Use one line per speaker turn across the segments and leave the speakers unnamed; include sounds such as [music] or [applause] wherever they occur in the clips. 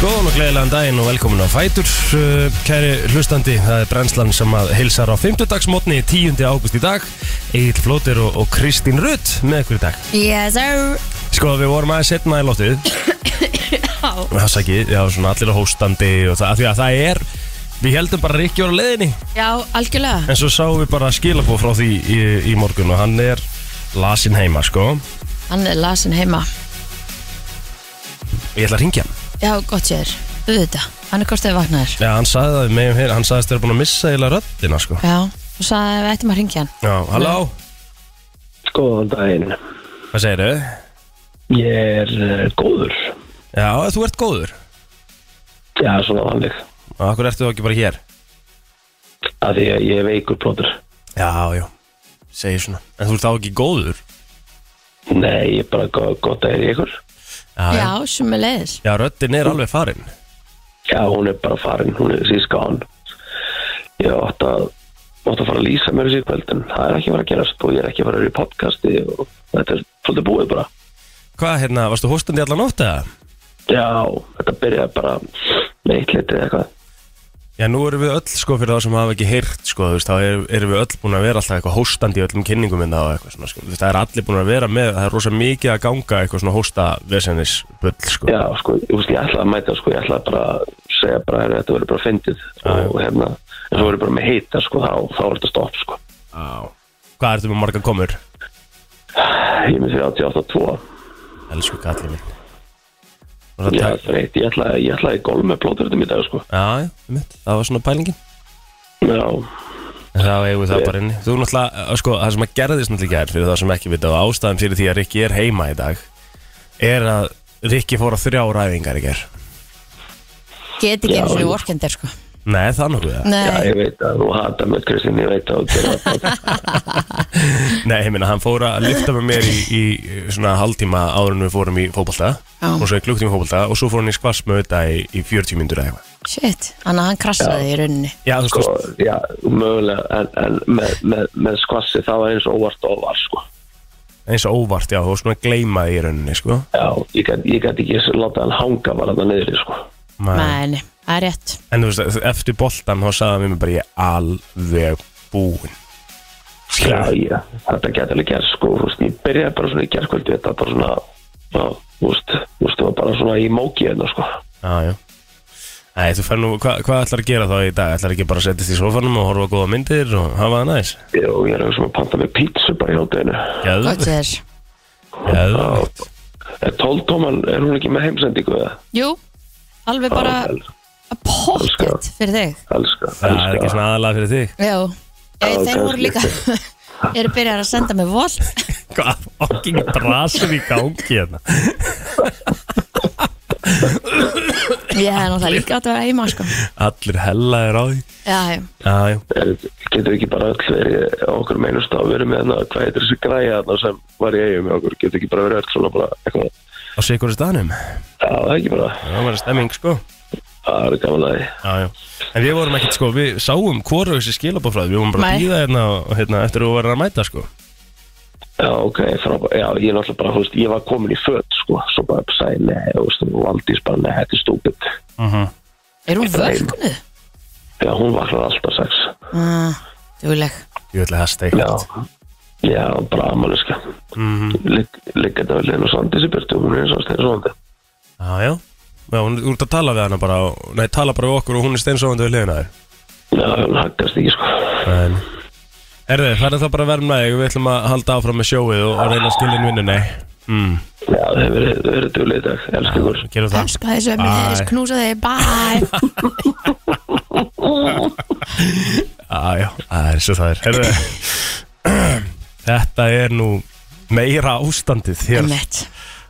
Góðan og gleðilegan daginn og velkomin á Fætur Uh, Kæri hlustandi, það er brennslan sem að hilsar á 5. dagsmotni 10. águst í dag Egil Flóter og, og Kristín Rutt með ykkur í dag
Yes sir
Sko, við vorum aðeins setna í loftið Það sagði, já, svona allir á hóstandi og það, af því að það er Við heldum bara að Rikki var á leiðinni
Já, algjörlega
En svo sáum við bara skilabóð frá því í, í morgun og hann er lasin heima, sko
Hann er lasin heima
Ég ætla að ringja hann
Já, gott sér Auðvitað Hann er kostið vaknaður
Já, hann sagði það með hér, hann sagðist þér búin að missa eila röddina, sko
Já Þú sagði að við ættum að ringja hann
Já, halló,
Góðan daginn.
hvað segirðu?
Ég er uh, góður.
Já, þú ert góður
Já, svona vanlig.
Akkur ertu þá ekki bara hér?
Af því að ég er veikur plótur.
Já, já, segir svona En þú ert þá ekki góður?
Nei, ég er bara go gott að er ykkur.
Já, sem er leiðis
Já, röddin er alveg farin
Já, hún er bara farin. Hún er síska hann. Ég átt að, átt að fara að lýsa mér þessi kvöld, en það er ekki að fara að gerast og ég er ekki að fara að vera í podcasti og þetta er svolítið búið bara.
Hvað, hérna, varstu hóstandi allan ótt eða?
Já, þetta byrjaði bara með eitt litið eitthvað.
Já, nú erum við öll, sko, fyrir þá sem hafa ekki heyrt, sko, þú veist, þá er- erum við öll búin að vera alltaf eitthvað hóstandi í öllum kynningum minna og eitthvað svona, sko, þú veist, það er allir búin að vera með, það er rosa mikið að ganga eitthvað svona hósta vesenisbull, sko.
Já, sko, ég, veist, ég ætlaði að mæta, sko, ég ætlaði bara að segja bara að þetta verður bara fyndið og hérna, en svo verður bara með heita, sko, þá, þá er þetta stopp, sko.
Já. Hvað ertu með marga komur?
Ég er með 38.2
Elsku kallið minn. Var það
Já,
tæ-
það er eitt, ég ætlaði ég ætlaði í golf með plóðurðum í dag sko.
Já, já, einmitt. það var svona pælingin.
Já,
En Þá eigum við það bara inni Þú náttúrulega, uh, sko, það sem að gerðist náttúrulega er fyrir það sem ekki vita og ástæðan fyrir því að Rikki er heima í dag er að Rikki fór á þrjá ræfingar í ger
Get ekki
Já,
eins og
já.
vorkendir sko
Nei, það nokkuð það
já,
Nei
ég veit að þú hata með Kristín, ég veit að þú gerir það.
[laughs] Nei, ég minna, hann fór að lyfta með mér í, í svona hálftíma áður en við fórum í fótbolta
Já.
og svo í klukktíma fótbolta og svo fór hann í skvass með þetta í, í 40 myndur eða eitthvað
Shit Þannig að hann krassaði í rauninni
Já, þú
sko,
veist,
já, mögulega en, en með, með, með skvassi það var eins og óvart og óvart sko.
eins og óvart, já, þú var svona að gleyma því í rauninni, sko
Já, ég gæti ég gat ekki láta hann hanga bara þarna niður sko.
Nei.
Nei, nei, það er rétt
En þú veist, eftir boltan þá sagði hann við mig bara ég er alveg búinn
Já, já, þetta gæti alveg gerst sko, þú veist, ég byrjaði bara svona í gerðkvöldu þetta bara svona, já, þú veist þú veist, það var bara svona í móki hérna sko.
Já, já Nei, þú fær nú, hva, hvað ætlar að gera þá í dag? Ætlar ekki bara að setjast í sofanum og horfa á góða myndir og hafa það næs?
Já, ég er eitthvað sem að panta með pítsu bara í hátæðinu
Gott
Geðvegt,
sér
geðvegt
Er 12 tóman, er hún ekki með heimsendingu eða?
Jú Alveg bara
Elskar.
Pocket fyrir þig
Elskar,
Það er ekki svona aðalega fyrir þig
Já Ég,
Já,
þeir voru
kannski.
líka [laughs] eru byrjar að senda mig
[laughs]
vol
[laughs] Hvað, okking brasir í gangi hérna
ég hefði náttúrulega líka átt að vera heima sko.
Allir hella er á því
já, já.
Já, já,
Getur ekki bara öll verið á okkur meinust að vera með hana, hvað heitir þessi græja hana sem var í eigum með okkur, getur ekki bara verið öll svona bara eitthvað,
á sikur stanum
já það er ekki bara,
Það var stemming, sko
það er gaman að því.
Já, já En við vorum ekkert, sko, við sáum hvora þessi skilabófræði Við vorum bara
Nei.
að býða hérna, og, hérna eftir að þú verður að mæta, sko
Já, ok, frábæ, já, ég er náttúrulega bara, þú veist, ég var komin í föt, sko, svo bara sæði, nei, þú veist, og Valdís bara, nei, þetta er stúpid.
Mm-hmm.
er hún vöknu?
Já, hún vaknaði alltaf sex.
Ah, dugleg
Ég ætla það steikt
Já, já, bara ammaliska.
Mhm.
Mm -hmm. Liggjandi vel hérna og sandi sér byrtu, hún er eins og steyr svona.
Já, já Já, hún, þú ert að tala við hana bara og- Nei, tala bara við okkur og hún er steinsofandi við liðina þér
Já, hún haggast ekki, sko.
En Herðu, færðu það bara að vera með þig Við ætlum að halda áfram með sjóið og, og reyna að skilja inn vinnunni mm,
Já, það hefur verið- þau verið duglega í dag, elsku ykkur.
Gerum það
elska þessu ömmu
Bye.
þess, knúsa þig,
[laughs]
bye
Já, já, það er svo það er Herðu Þetta er nú meira ástandið hér
mitt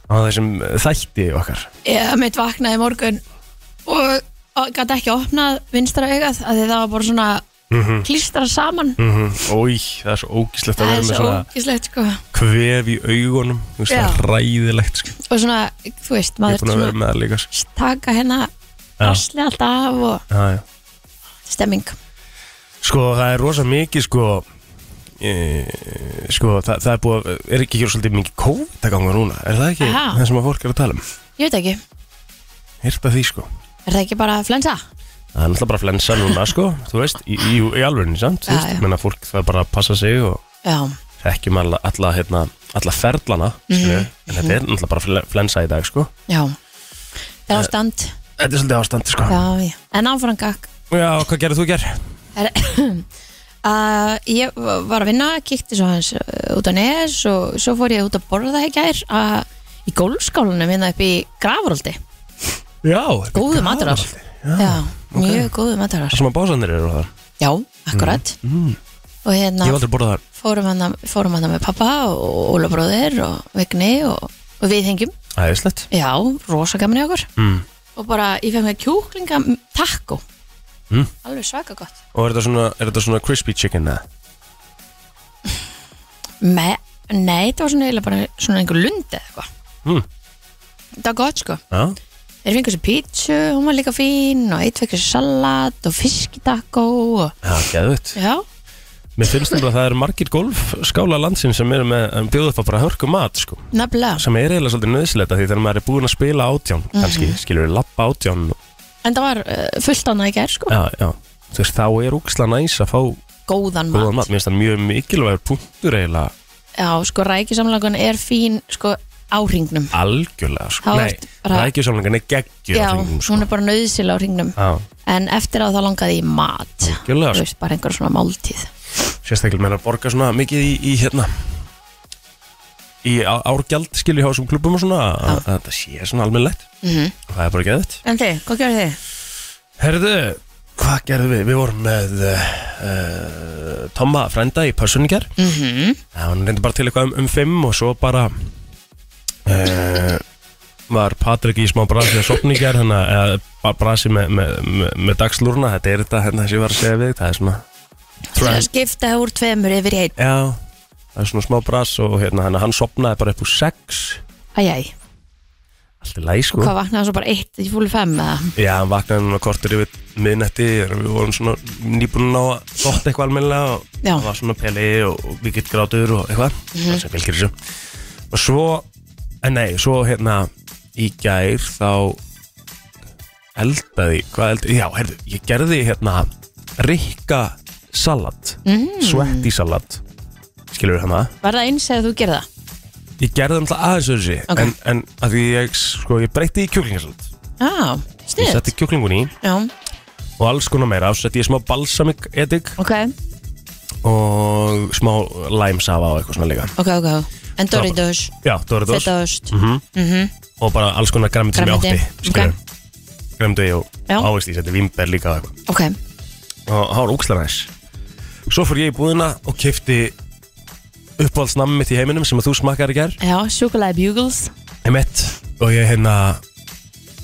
á þessum þætti okkar
ég mitt vaknaði í morgun og, og gæti ekki opnað vinstra augað af því það var bara svona mm klístra saman
mm Mhm. Ói, það er svo ógíslegt að
það er
vera með
svo
svona
ógislegt sko
kvef í augunum Þú veist, það
Já.
er ræðilegt sko.
og svona, þú veist,
Ég
maður
er búin að vera
svona
með það líka sko.
taka hérna
Já.
asli alltaf af og
Já, já
stemming
Sko það er rosa mikið sko e, Sko það, það er búið að- Er ekki hér svolítið mikið COVID að ganga núna Er það ekki
Aha.
það sem að fólk er að tala um
ég veit ekki,
hýrt að því sko
Er það ekki bara flensa?
Það er náttúrulega bara flensa núna sko Þú veist, í, í, í alvörinu samt
Já, já.
Menna fólk það bara að passa sig og
Já,
þekkjum alla, alla, hérna, alla ferlana skilju,
Mhm.
En þetta er náttúrulega bara fle- flensa í dag sko
já Það
Eh,
er ástand
Þetta er svolítið ástand sko
Já, já En áfram gakk
Já, hvað gerðið þú gerð?
Er, [coughs] uh, ég var að vinna, kíkti svo hans uh, út á nes og svo fór ég út að borða það í gær uh, í gólfskálunum hérna upp í Grafarolti
Já,
Góðu matarar
Ah,
Já, mjög góðu
Það
matarar
sem að básandir eru þar Mm,
Já, akkurat Og hérna
Ég hef aldrei borðað þar
fórum hann, fórum hann með pappa og Óla bróðir og Vigni og, og við hengjum
Æðislegt
Já, rosa gaman í okkur
mm.
Og bara, ég fekk með kjúklinga takko
Mm.
Alveg svaka gott
Og er þetta svona, er þetta svona crispy chicken eða?
Me, nei, það var svona eiginlega bara svona einhver lund eða eitthvað
Mm.
Það var gott sko
Já,
Þeir fengur sér pítsu, hún var líka fín og eitt fekkur sér salat og fiskitakko og...
já, geðvitt
Já,
Mér finnst nefnilega að það eru margir golfskála landsin sem eru með um, bjóðu upp á bara hörku mat sko,
nefnilega
sem er eiginlega svolítið nöðsilegt því þegar maður er búinn að spila átján
Mhm.
kannski, skilur við lappa átján og,
En það var uh, fullt annað í gær sko
já, já, þú veist, þá er úksla næs að fá
Góðan mat,
góðan mat mér finnst það mjög mikilvægur punktur eiginlega
Já, sko rækisamlagun er fín sko á hringnum
algjörlega sko.
Þá
Nei,
ertu bara-
rækjusamlingan er geggjur
Já,
á hringum sko.
hún er bara nöðsil á hringnum
Já,
En eftir að það langaði í mat
Algjörlega,
Þú
sko.
veist, bara einhver svona máltíð
sérstaklega meðan að borga svona mikið í, í hérna í á- árgjald skilju hjá þessum klubum og svona að, að þetta sé svona almennlegt
Mhm.
og það er bara geðið
En þið, hvað gerðu þið?
Herðu, hvað gerðum við? Við vorum með uh, Tomma frænda í Pössuningar mm -hmm. Hann reyndi bara til eitthvað um, um fimm og svo bara uh, var Patrik í smá brasi að sopningar þannig að uh, brasi með, með, með, með dagslúruna þetta er þetta hérna, sem ég var að segja við það er svona
Til að skipta úr tveimur yfir í einn
Já, það er svona smá bras og hérna, hann, hann sopnaði bara upp úr sex
Æjæj,
Allt er læg sko
hvað vaknaði svo bara eitt í fúli fem eða?
Já, hann vaknaði núna kortur yfir miðnetti við vorum svona nýbúin á að þótt eitthvað almennilega og
Já. Mhm.
það var svona peli og, og við getum grátur og eitthvað það sem fylgir þessu og svo, en nei, svo hérna í gær þá eldaði, hvað eldaði já, heyrðu, ég gerði hérna rikka salat
Mhm.
mm. sweaty salat skilur við hana
Var það eins eða þú gerði það?
ég gerði það aðeins öðru
Ok.
en, en að því ég, sko, ég breytti í kjúklingasalat
Já,
ég
snið
setti kjúklingun í
Já,
og alls konar meira og setti ég smá balsamik edik
ok,
og smá læmsafa og eitthvað svona líka
ok, ok En Mhm. Doritos,
já, Doritos
fetaost
og bara alls konar græmiti sem ég
Grænmeti,
átti skilur
ok.
græmiti og
Já.
ávist ég setti vimber líka og eitthvað
Ok,
og það var úkslega næs svo fór ég í búðina og kefti uppáhaldsnammi mitt í heiminum sem að þú smakkaði í gær
já, Sugarlight Bugles
emitt og ég hérna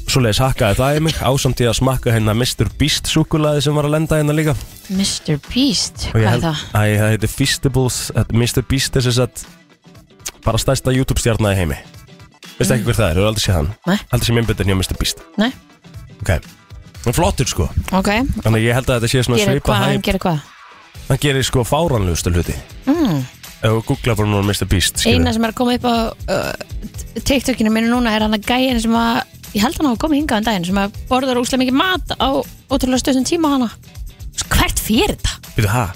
svoleiðis hakkaði það í mig ásamt ég að smakka hérna Mr. Beast súkulaði sem var að lenda hérna líka
Mr. Beast,
og ég
hvað er
held
það?
að það heiti Feastables að Mr. Beast er þess að bara stærsta YouTube stjarnar í heimi veistu ekki hver það er, þú aldrei séð hann
Mm. Nei.
aldrei séð minnbyttin hjá Mr. Beast
Nei,
ok, hann er flottur sko
ok,
þannig að ég held að þetta sé svona
gerir
svipa
hvað, hann
hæp
gerir hvað
hann gerir sko fáranlegustu hluti
Mm.
ef þú googlar bara núna Mr. Beast skilur.
Eina sem er að koma upp á uh, TikTokinu mínu núna er hann að gæin sem að ég held hann að koma hingað en daginn sem að borðar úslega mikið mat á ótrúlega stöðum tíma hana Hvert fyrir þetta?
býtu hæ,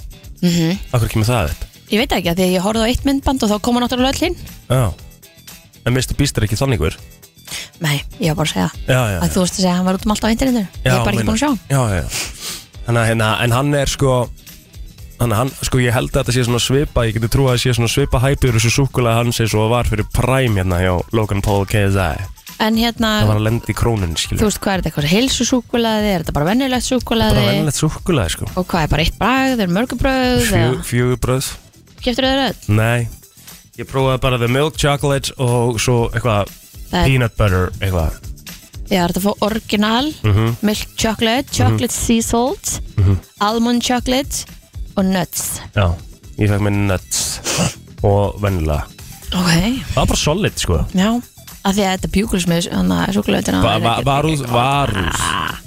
akkur kemur það upp
Ég veit það ekki að því að ég horfði á eitt myndband og þá koma náttúrulega öll hinn
já en Mr. Beast er ekki þannig hver
Nei, ég var bara að segja
já, já,
að þú veist að segja að hann var út um allt á internetinu Ég
Já,
er bara ekki
meina-
búin að sjá hann
já, já, já. Þannig að hérna, en hann er sko Þannig að hann, sko ég held að þetta sé svona svipa Ég geti trúið að þetta sé svona svipa hæpjur Þessu súkulega hans eins og það var fyrir Prime hérna hjá Logan Paul KSI
En hérna,
Það var að lenda í krónun,
þú
skilju
veist hvað er þetta eitthvað heilsusúkulaði, er þetta bara venjulegt
Bara
súkulaði
vennilegt súkulega, sko
og hvað er bara eitt bragð, er mörgubröð
Fjö- Fjögur bröð,
Kjöftur þau öll?
nei Ég prófaði bara the milk chocolate og svo eitthvað
Það er-
peanut butter, eitthvað Mhm.
Já, þetta fór original, milk chocolate, chocolate sea salt, almond chocolate og nuts
Já, ég fekk mér nuts og vennilega
Ok,
Það var bara solid, sko
já, af því að þetta bjúkuls með súkulaðina
Va- va- Varúð, varúð
Ah.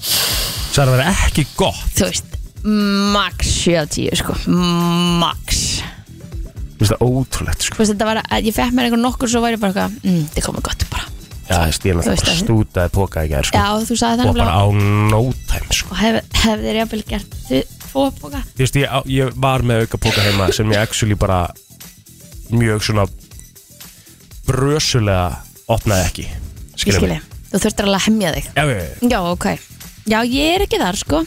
Það er að vera ekki gott
Þú veist, max 7 af 10 sko, max
Mér finnst það ótrúlegt sko
Þú veist, þetta var að ég fekk mér einhver nokkur svo væri bara eitthvað, mm, þið komið gott bara
Já, þú veist, ég er
Þú veist
náttúrulega
að-
stútaði póka í gerð, sko.
Já, þú sagði
Og
þannig
bara á no time, sko.
og hef, hefðir jafnvel gert þið tvo bóka
Þú veist, ég, ég var með auka póka heima sem ég actually bara mjög svona brösulega opnaði ekki.
ég
Skilja
skilji,
mig.
þú þurftir alveg að hemja þig
Já, já, já.
já, ok, já, ég er ekki þar sko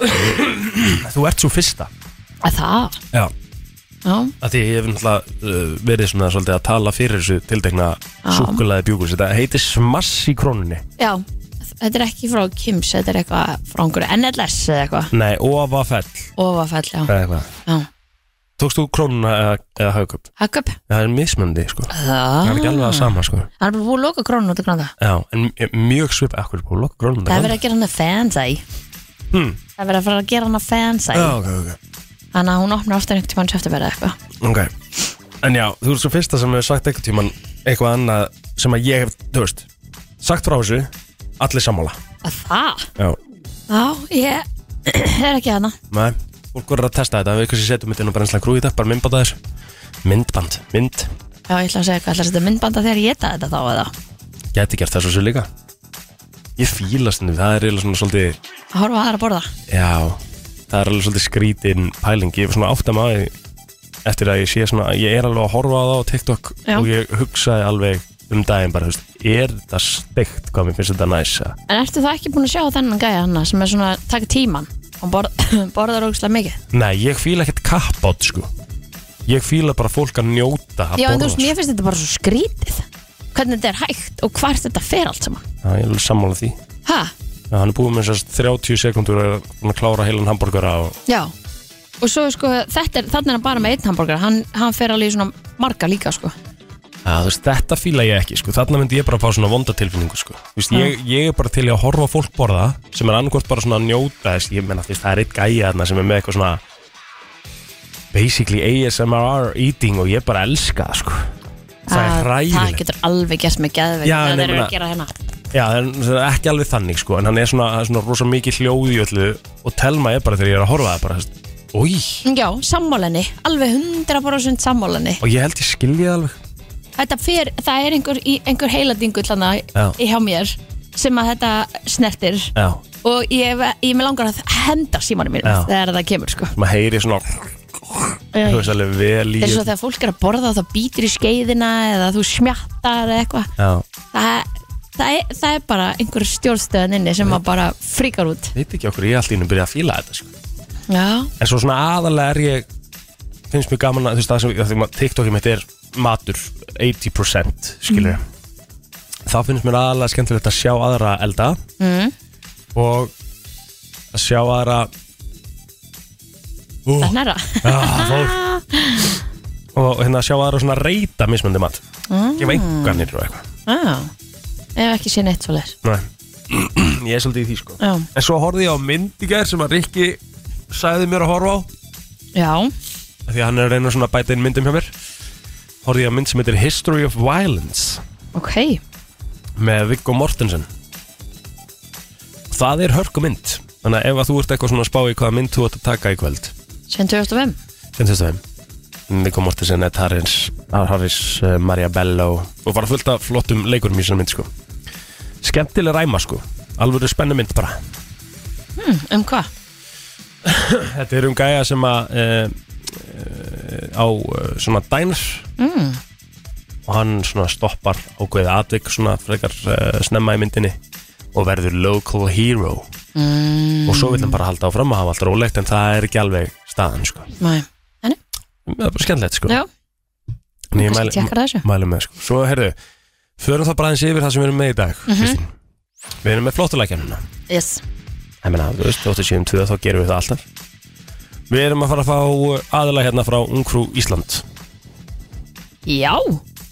[clears throat] Þú ert svo fyrsta.
að það,
Já.
já,
Af því ég hef náttúrulega uh, verið svona svolítið að tala fyrir þessu tiltekna
Já.
súkulaði bjúkus. Þetta heitir smass í krónunni.
já þetta er ekki frá Kims, þetta er eitthvað frá einhverju NLS eða eitthvað,
Nei, ofafell.
ofafell, já,
Eða eitthvað.
já
Tókst þú krónuna eða, eða hagköp?
Hagkup,
Það er mismöndi, sko. Það
það
er ekki alveg að sama, sko.
hann er bara búið að loka krónu út af granda
Já, en mj- mjög svip akkur búið að lokka krónuna.
það er verið að gera hann að fansæ
Hmm.
það er verið að fara að gera hann að fansæ
Já, ok, ok.
þannig að hún opnar ofta einhvern tímann söftuverð eitthvað
Ok. En já, þú ert svo fyrsta sem hefur sagt eitthvað tíman eitthvað annað sem að ég hef, þú veist, sagt frá þessu, allir sammála.
að það,
Já.
já, ég [clears throat] er ekki hana
Nei, fólk voru að testa þetta Við kannski setjum þetta inn á brennslan krú í dag Bara myndband að þessu Myndband, mynd
Já, ég ætla að segja hvað, ætla að setja myndbanda þegar ég geta þetta þá eða
Gæti gert þessu svo líka Ég fílast henni, það er eiginlega svona svolítið
að horfa á aðra að borða
Já, það er alveg svolítið skrítin pæling Ég er svona átt að maður Eftir að ég sé svona, ég er alveg að horfa á það á TikTok
Já.
Og ég hugsaði alveg um daginn bara, þú veist, er þetta steikt Hvað mér finnst þetta næs að-
En ertu þá ekki búin að sjá þennan gæja hana sem er svona að taka tíman og borð, [laughs] borðar ógustlega mikið
Nei, ég fíla ekkert kappátt, sko Ég fíla bara fólk að njóta að
Já, en
borða, sko.
þú veist, mér finnst þetta bara svo skrítið hvernig þetta er hægt og hvar þetta fer allt saman
sko. Já, ég er alveg sammála því
Ha?
Já, hann er búið með þessast 30 sekundur að búinn að klára heilan hambúrgara og
Já Og svo sko, þetta er, þannig er hann bara með einn hambúrgar hann, hann fer alveg í svona marga líka sko
Já, þú veist, þetta fíla ég ekki, sko Þarna myndi ég bara fá svona vonda tilfinningu, sko Þú veist, ég, ég er bara til í að horfa á fólk borða sem er annarkvort bara svona að njóta þess Ég menna, þú veist, það er eitt gæja þarna sem er með eitthvað svona basically ASMR eating og ég bara elska það, sko Það
Að-
er
Það
hræðilegt
getur alveg gert með geðveik
Já, en ég
það er að
meina-
gera hérna
Já, það er- það er ekki alveg þannig, sko En hann er svona, það er svona rosa mikið hljóð í öllu og telma ég bara þegar ég er að horfa á það bara, þú veist, Új,
Já, sammálenni, alveg 100% sammálenni
og ég held ég skilji það alveg
þetta fer, það er einhver, í- einhver heiladingull hann
Já.
hjá mér sem að þetta snertir
Já,
og ég, ég með langar að henda símanum mínu
Já.
þegar það kemur sko
maður heyri svona Þú veist
Æ.
alveg vel í
Það er svo þegar fólk er að borða og það býtir í skeiðina eða þú smjattar eða eitthvað
Já,
það, það, er- það er bara einhver stjórnstöðan inni sem að bara fríkar út
veit ekki okkur, ég er allt í innum byrjað að fíla þetta sko.
Já,
En svo svona aðalega er ég finnst mjög gaman að þú veist það sem af því að TikTokið mitt er matur 80% skilur mm. þá finnst mér aðalega skemmtilegt að sjá aðra elda
mm.
og að sjá aðra Ú,
það er næra
ah, fólk. og hérna að sjá aðra svona reyta mismöndi mat
mm.
gefa enganir og eitthvað
Já, ef ekki sé neitt svo leir
Nei. [clears throat] ég er svolítið í því sko
Já,
En svo horfði ég á mynd í gær sem að Rikki sagði mér að horfa á
já,
af Því að hann er að reyna svona að bæta inn myndum hjá mér Horfði ég á mynd sem heitir History of Violence
ok
Með Viggo Mortensen Það er hörku mynd Þannig að ef að þú ert eitthvað svona að spá í hvaða mynd þú ætti að taka í kvöld
Svein 2005
Sem þetta þeim Viggo Mortensen, Ed Harris, Ar Harris, eh, Maria Bello Og bara fullt af flottum leikurum í svona mynd sko Skemmtileg ræma sko Alvöru spennu mynd bara
hm, Um hvað?
Þetta er um gæja sem að e, e, á e, svona dænir
Mm.
og hann svona stoppar ákveðið atvik svona frekar e, snemma í myndinni og verður local hero
Mm.
og svo vil hann bara halda áfram að hafa allt rólegt en það er ekki alveg staðan sko.
Nei,
Það er bara skemmtilegt sko.
já,
En ég
kannski
mæli,
tjekkar það þessu
mæli með sko. Svo herðu, förum það bara eins yfir það sem við erum með í dag
Mhm.
Kristín. Við erum með flottulækjanuna
Yes
Ég meina, þú veist, 87.2 þá gerum við það alltaf Við erum að fara að fá aðila hérna frá Ungrú Ísland
Já,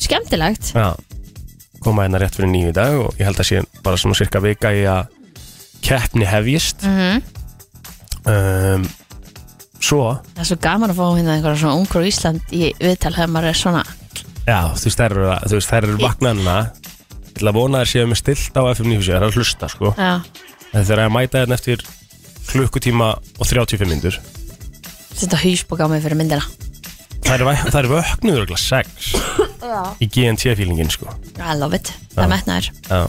skemmtilegt
Já, koma hérna rétt fyrir nýju í dag og ég held að sé bara svona cirka vika í að keppni hefjist
mm
um, Svo,
Það er svo gaman að fá hérna einhverja svona ungur á Ísland í viðtal þegar maður er svona
já, þú veist, þær eru, að- þú veist, þær eru vaknaðina Ég ætla að vona að þær séu með stilt á FM 9 Það er að hlusta, sko
Já,
En þeir eru að mæta hérna eftir klukkutíma og 35 myndur
þetta hausbók á mig fyrir myndina
Það eru vöknuður og 6
Já.
í GNT-fílingin sko
I love it, það er metnaður
Já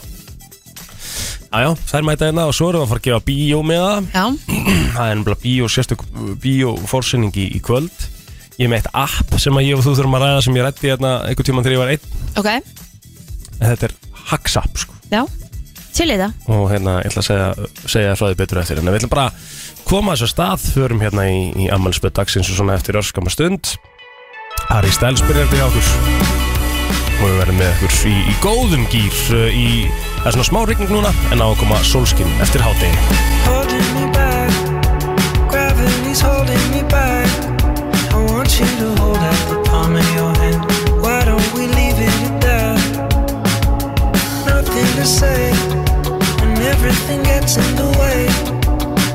Æjá, þær mæta hérna og svo erum við að fara að gefa bíó með það
Já,
[clears throat] Það er nefnilega bíó, sérstök bíó fórsinning í, í kvöld Ég er með eitt app sem að ég og þú þurfum að ræða sem ég rætti hérna einhvern tímann þegar ég var einn
ok,
En þetta er Haxapp sko
já Til í það,
Og hérna, ég ætla að segja, segja frá því betur eftir En við ætlum bara að koma þessu af stað Förum hérna í, í ammælspöð dagsins og svona eftir örskama stund Harry Styles byrjar fyrir okkur Og við verðum með okkur í, í góðum gýr uh, í, Það er svona smá rigning núna En á að koma sólskinn eftir hádegi
holding me back. Gravity's holding me back. I want you to hold out the palm of your hand. Why don't we leave it at that? Nothing to say, and everything gets in the way.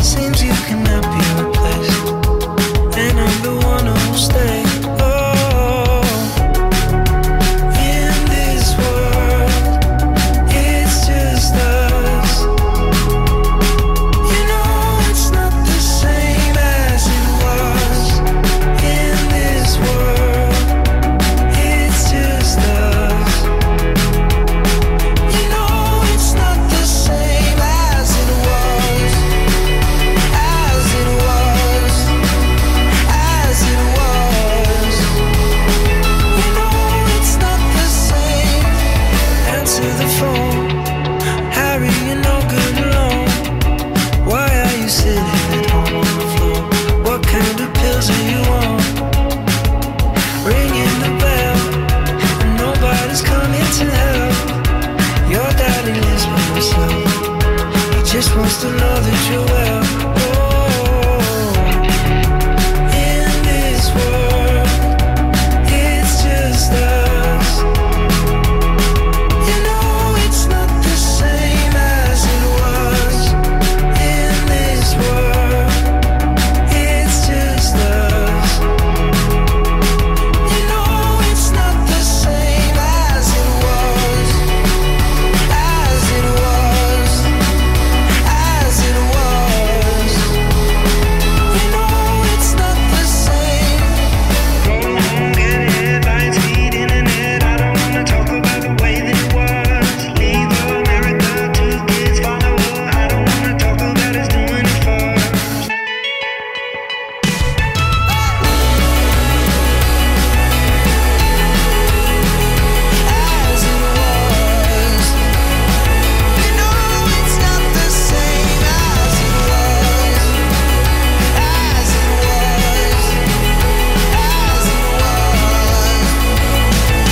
Seems you cannot be replaced, and I'm the one who'll stay. Oh, in this world, it's just us. You know it's not the same as it was in this world. It's just us. You know it's not the same as it was, as it was, as it was. You know it's not the same. Answer the phone, Harry. You're no good alone. Why are you sitting at home on the floor? What kind of pills are you on? Ringing the bell, and nobody's coming to help. Your daddy lives by himself. He just wants to know that you're well. Oh, in this world, it's just us. You know it's not the same as it was. In this world, it's just us. You know it's not the same as it was, as it was, as it was. You know it's not the same. Go home, get headlines, feed internet. I don't wanna talk about the way that it was. Leave America, two kids follow her. I don't wanna talk about us doing it first. As it was, you know it's not the same as it was, as it was, as it was.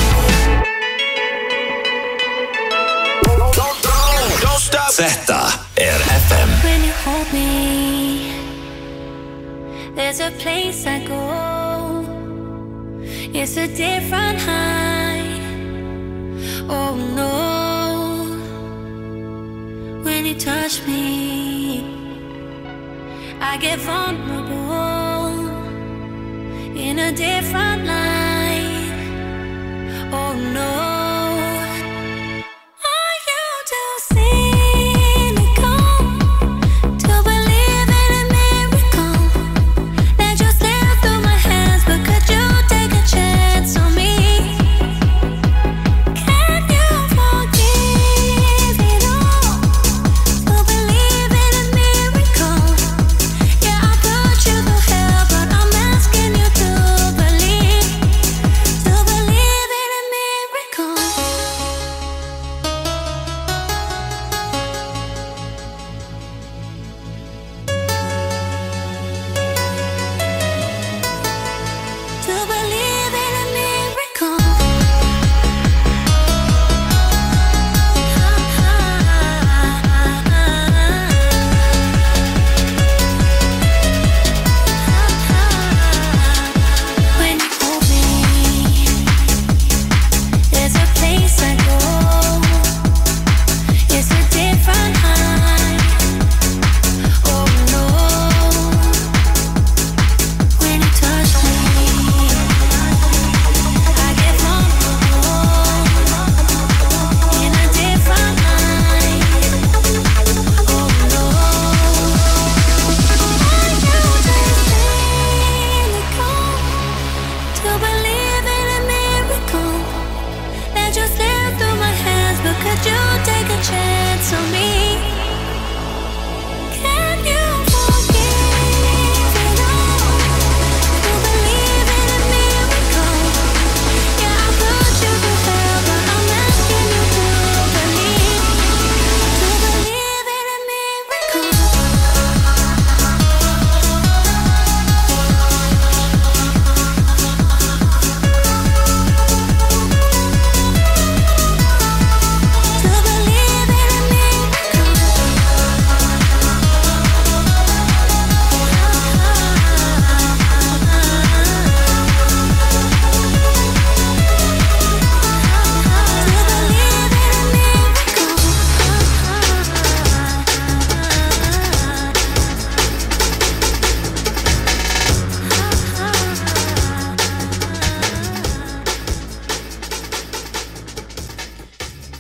Þetta er FM
When you hold me, there's a place I go. It's a different high. Oh no, when you touch me, I get vulnerable in a different light. Oh no. Are you to cynical to believe in a miracle? That you slip through my hands, but could you take a chance on me? Can you forgive it all? To believe in a miracle? Yeah, I put you through hell, but I'm asking you to believe. Oh,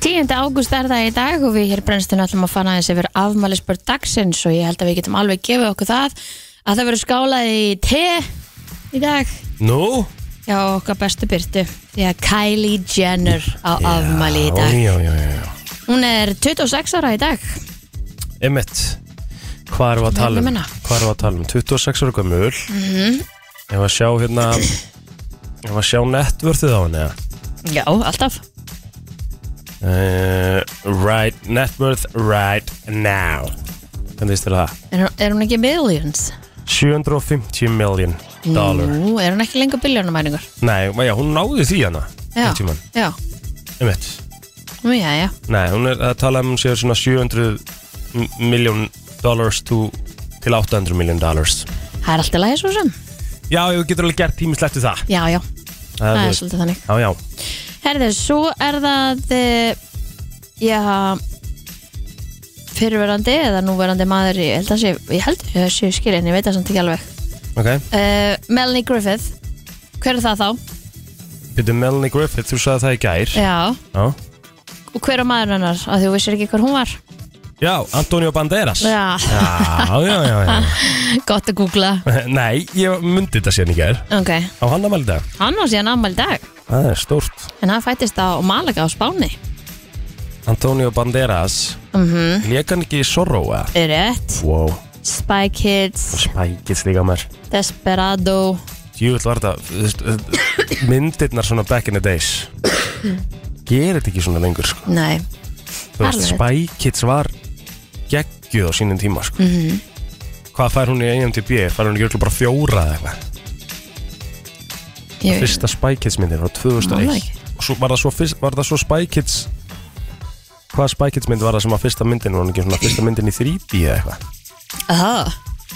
9. ágúst er það í dag og við hér brennstum ætlum að fara aðeins yfir afmælisbörn dagsins og ég held að við getum alveg gefið okkur það að það verður skálað í te í dag
Nú?
hjá okkar bestu byrtu því að Kylie Jenner á afmæli í dag
Já, já, já, já
hún er 26 ára í dag
Emmett Hvað erum við að tala um?
Minna.
Hvað erum við að tala um? 26 ára gömul mm
Mhm.
Ég var að sjá hérna Ég var að sjá netvörðið á henni eða?
já, alltaf
uh, Right Networth right now Hvernig veist þér það?
er, hún- er hún ekki millions?
750 million dollar
Nú, er hún ekki lengur biljónumæringur?
Nei, ma- já, hún náði því hana
Já,
einhvern tímann.
já,
Einmitt.
nú já, já
Nei, hún er að tala um sér svona 700 m- million dollars to, til 800 million dollars
það er alltaf lægið svo sem
Já, ég getur alveg gert tímislegt við það
já, já,
Það,
það
þú
er
veist.
svolítið þannig
Já, já,
Herðu, svo er það eh, já fyrirverandi eða núverandi maður ég held að sé, ég held að sé skilin ég veit það samt ekki alveg
ok
uh, Melanie Griffith, hver er það þá?
Byrðu Melanie Griffith, þú sagði það í gær
Já,
Já,
og hver er maður hennar? Af því þú vissir ekki hver hún var
já Antonio Banderas
Já,
já, já, já, já.
[laughs] gott að googla [laughs]
Nei, ég myndi þetta síðan í gær
Ok,
Á hann að melda
hann var síðan afmæli í dag
Það er stórt
en hann fættist á Malaga á Spáni
Antonio Banderas
mm -hmm.
Lék hann ekki í Sorrow eða?
Rétt,
Wow,
Spy Kids
spækist líka mér
Desperado
Júvill var þetta þú veist, eh, Myndirnar svona back in the days Gerir þetta ekki svona lengur sko.
Nei,
Þú veist,
Alveg.
Spy Kids var geggjuð á sínum tíma sko.
Mhm.
Hvað fær hún í IMDb? Fær hún í örugglega bara fjóra eða eitthvað
ég veit
Fyrsta Spy Kids myndir frá 2001
Mála ekki.
Og svo var það svo, fyrst, var það svo Spy Kids Hvað Spy Kids mynd var það sem að fyrsta myndin Var hún ekki svona fyrsta myndin í 3D eða eitthvað
Aha.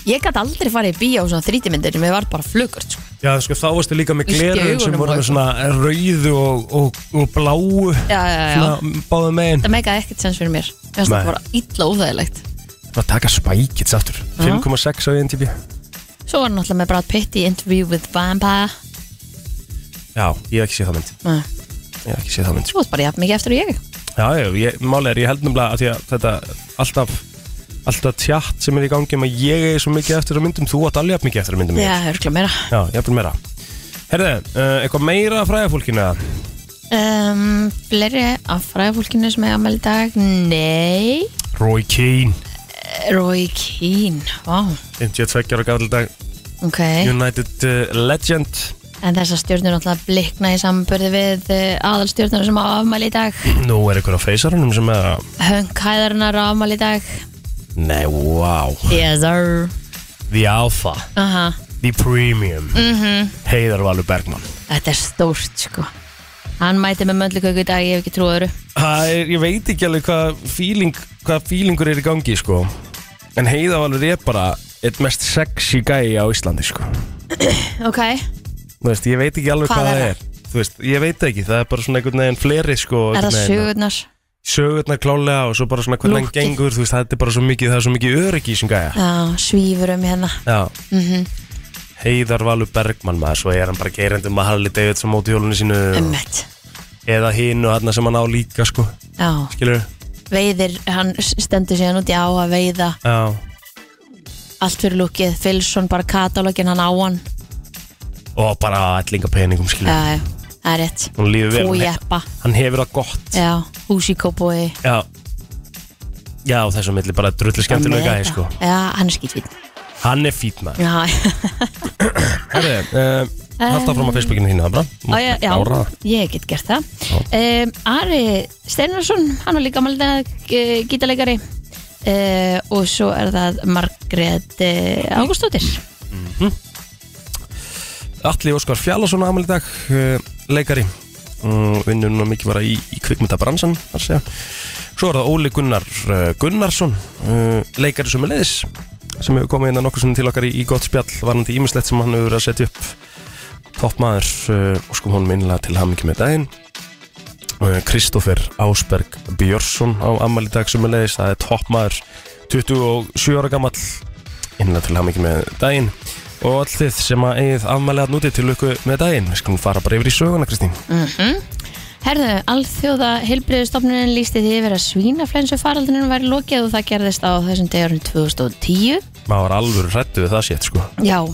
Ég gæti aldrei farið í bíó á svona þrítimyndir Mér var bara flugurt sko.
Já, sko, þá varstu líka með
Illt í
glerun sem
augunum
voru
og
með svona rauðu og, og, og bláu
Já, já, já.
svona báðu megin
Það meikaði ekkert sens fyrir mér Mér finnst
Mm. Nei.
það bara illa óþægilegt
Það taka spækits aftur 5,6 á INTB
Svo var hann alltaf með Brad Pitt í Interview with Vampire
Já, ég hef ekki séð það mynd
Nei,
Ég hef ekki séð það mynd
Þú varst bara jafn mikið eftir og ég
Já, já, ég, máli er, ég held nefnilega að, því að þetta alltaf alltaf tjátt sem er í gangi um að ég er svo mikið eftir að myndum þú átt alveg jafn mikið eftir að myndum
Já,
ég.
örgla meira
Já, ég er meira Herðu, uh, eitthvað meira að fræða fólkinu eða?
um, Fleiri af fræðfólkinu sem er ámæli í dag Nei
Roy Keane
Roy Keane Vá,
52 ára gafl dag
ok
United uh, Legend
En þessar stjórnir alltaf blikna í samburði við aðalstjórnir sem á afmæli í dag
[clears throat] Nú er eitthvað á feysaranum sem er að
Hönk hæðarinnar á afmæli í dag
Nei, wow
Yes, sir
The Alpha,
Aha
The Premium mm Heiðar Valur Bergman
Þetta er stórt sko Hann mæti með möndluköku í dag, ég hef ekki trú öðru
Það er, ég veit ekki alveg hvað feeling, hvað feelingur er í gangi sko En Heiðar Valur er bara eitt mest sexy gæi á Íslandi sko
Ok
Þú veist, ég veit ekki alveg hvað,
Hvað
það
er
er, Þú veist, ég veit ekki, það er bara svona einhvern veginn fleri sko
Er
einhvern
það
veginn.
sögurnar?
Sögurnar klálega og svo bara svona hvernig hann
Lúkkið.
gengur Þú veist, þetta er bara svo mikið, það er svo mikið öryggi í sem gæja
Já, svífur um hérna
Já Heiðar Valur Bergman maður, svo er hann bara gerandi með Harley Davidson móti hjólunni sínu og-
Ömmett
eða hinn og hann sem hann á líka sko,
Já,
skilur
veiðir, hann stendur síðan út í á að veiða
já,
Allt fyrir lúkið, Filsson bara katalógin hann á hann
og bara allinga peningum skilur
Já, já, það er rétt
hún líður vel, Mm. hann, he-
Fójeppa,
hann hefur það gott
já, húsíkóbói
já, já og þessum milli bara drullu skemmtilega gæði sko
Já, hann er skýtvít
hann er fít maður
Já,
herri, uh, halda fram á Facebookinu þínu það bara,
Um, Á, já, já
Ára.
ég get gert það um, Ari Steinarsson, hann var líka málita uh, gítalegari uh, og svo er það Margrét uh, Ágústóttir
Atli Óskar Fjallason amal í dag uh, leikari mm, vinnur núna mikið bara í, í kvikmyndabransan þar segja. svo er það Óli Gunnar uh, Gunnarsson uh, leikari sem er leiðis sem hefur komið inn að nokkuð sem til okkar í, í gott spjall varandi ímislegt sem hann hefur verið að setja upp toppmaður uh, og sko hún minnilega til hamingi með daginn Uh, Kristoffer Ásberg Björnsson á amal í dag sem er leiðis það er toppmaður 27 ára gamall innlega til hamingi með daginn og allt þið sem að eigið afmæli að núti til lukku með daginn. Við skulum fara bara yfir í söguna, Kristín.
mm -hmm. Herðu, alþjóða heilbriðustofnunin lísti því yfir að svínaflensu faraldinum væri lokið og það gerðist á þessum degurum 2010.
maður var alvöru hrættu við það sétt sko
Já,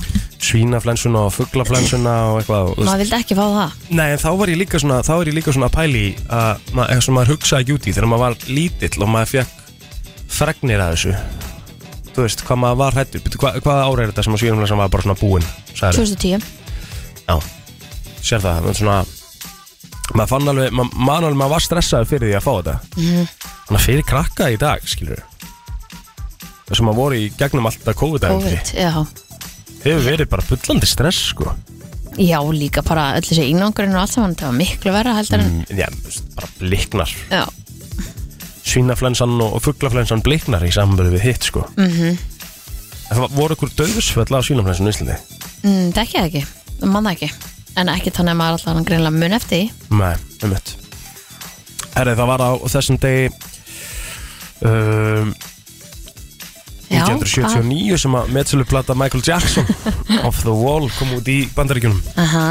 svínaflensuna og fugglaflensuna og eitthvað og, þú veist,
maður vildi ekki fá það.
nei en þá var ég líka svona þá er ég líka svona að pæli að ma- eitthvað sem maður hugsaði ekki út í þegar maður var lítill og maður fekk fregnir að þessu þú veist hvað maður var hrættu hva, hvaða ára er þetta sem að svínaflensan var bara svona búin sagðirðu?
2010.
Já, sér það, það er svona maður fann alveg, maður man alveg maður var stressaður fyrir því að fá þetta
Mhm,
þannig að fyrir krakka í dag, skilur við þessum að voru í gegnum alltaf COVID-19
COVID, já.
hefur verið bara bullandi stress, sko
Já, líka bara öll þessi einangurinn og allt saman, það var miklu verra heldur en,
Mm, já, þú veist, bara bliknar
já,
svínaflensan og fugglaflensan bliknar í samverðu við hitt, sko mm
mhm.
það var- voru ykkur döðsföll á svínaflensan í Íslandi
mm, það ekki það ekki, það mann það ekki. En ekki þannig að maður allan greinlega mun eftir því.
Nei, um mitt Herri, það var á þessum degi um,
Já,
1979 sem að metsöluplata Michael Jackson Off the Wall kom út í bandaríkjunum
Aha.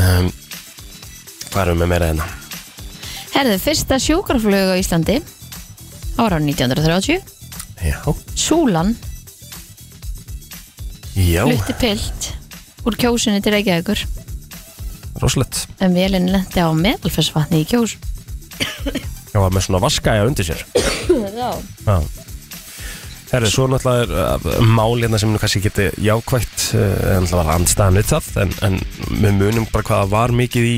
um, Hvað erum við með meira hérna?
Herðu, fyrsta sjúkraflug á Íslandi ára 1930.
Já,
Súlan
já,
flutti pilt úr kjósunni til Reykjavíkur
rosalegt
en vélinn lendi á meðalfessvatni í kjós.
Já, var með svona vaskæja undir sér
Já.
Já Herri, svo náttúrulega er uh, mál hérna sem nú kannski geti jákvægt uh, en það var andstæðan við það en, en við munum bara hvaða var mikið í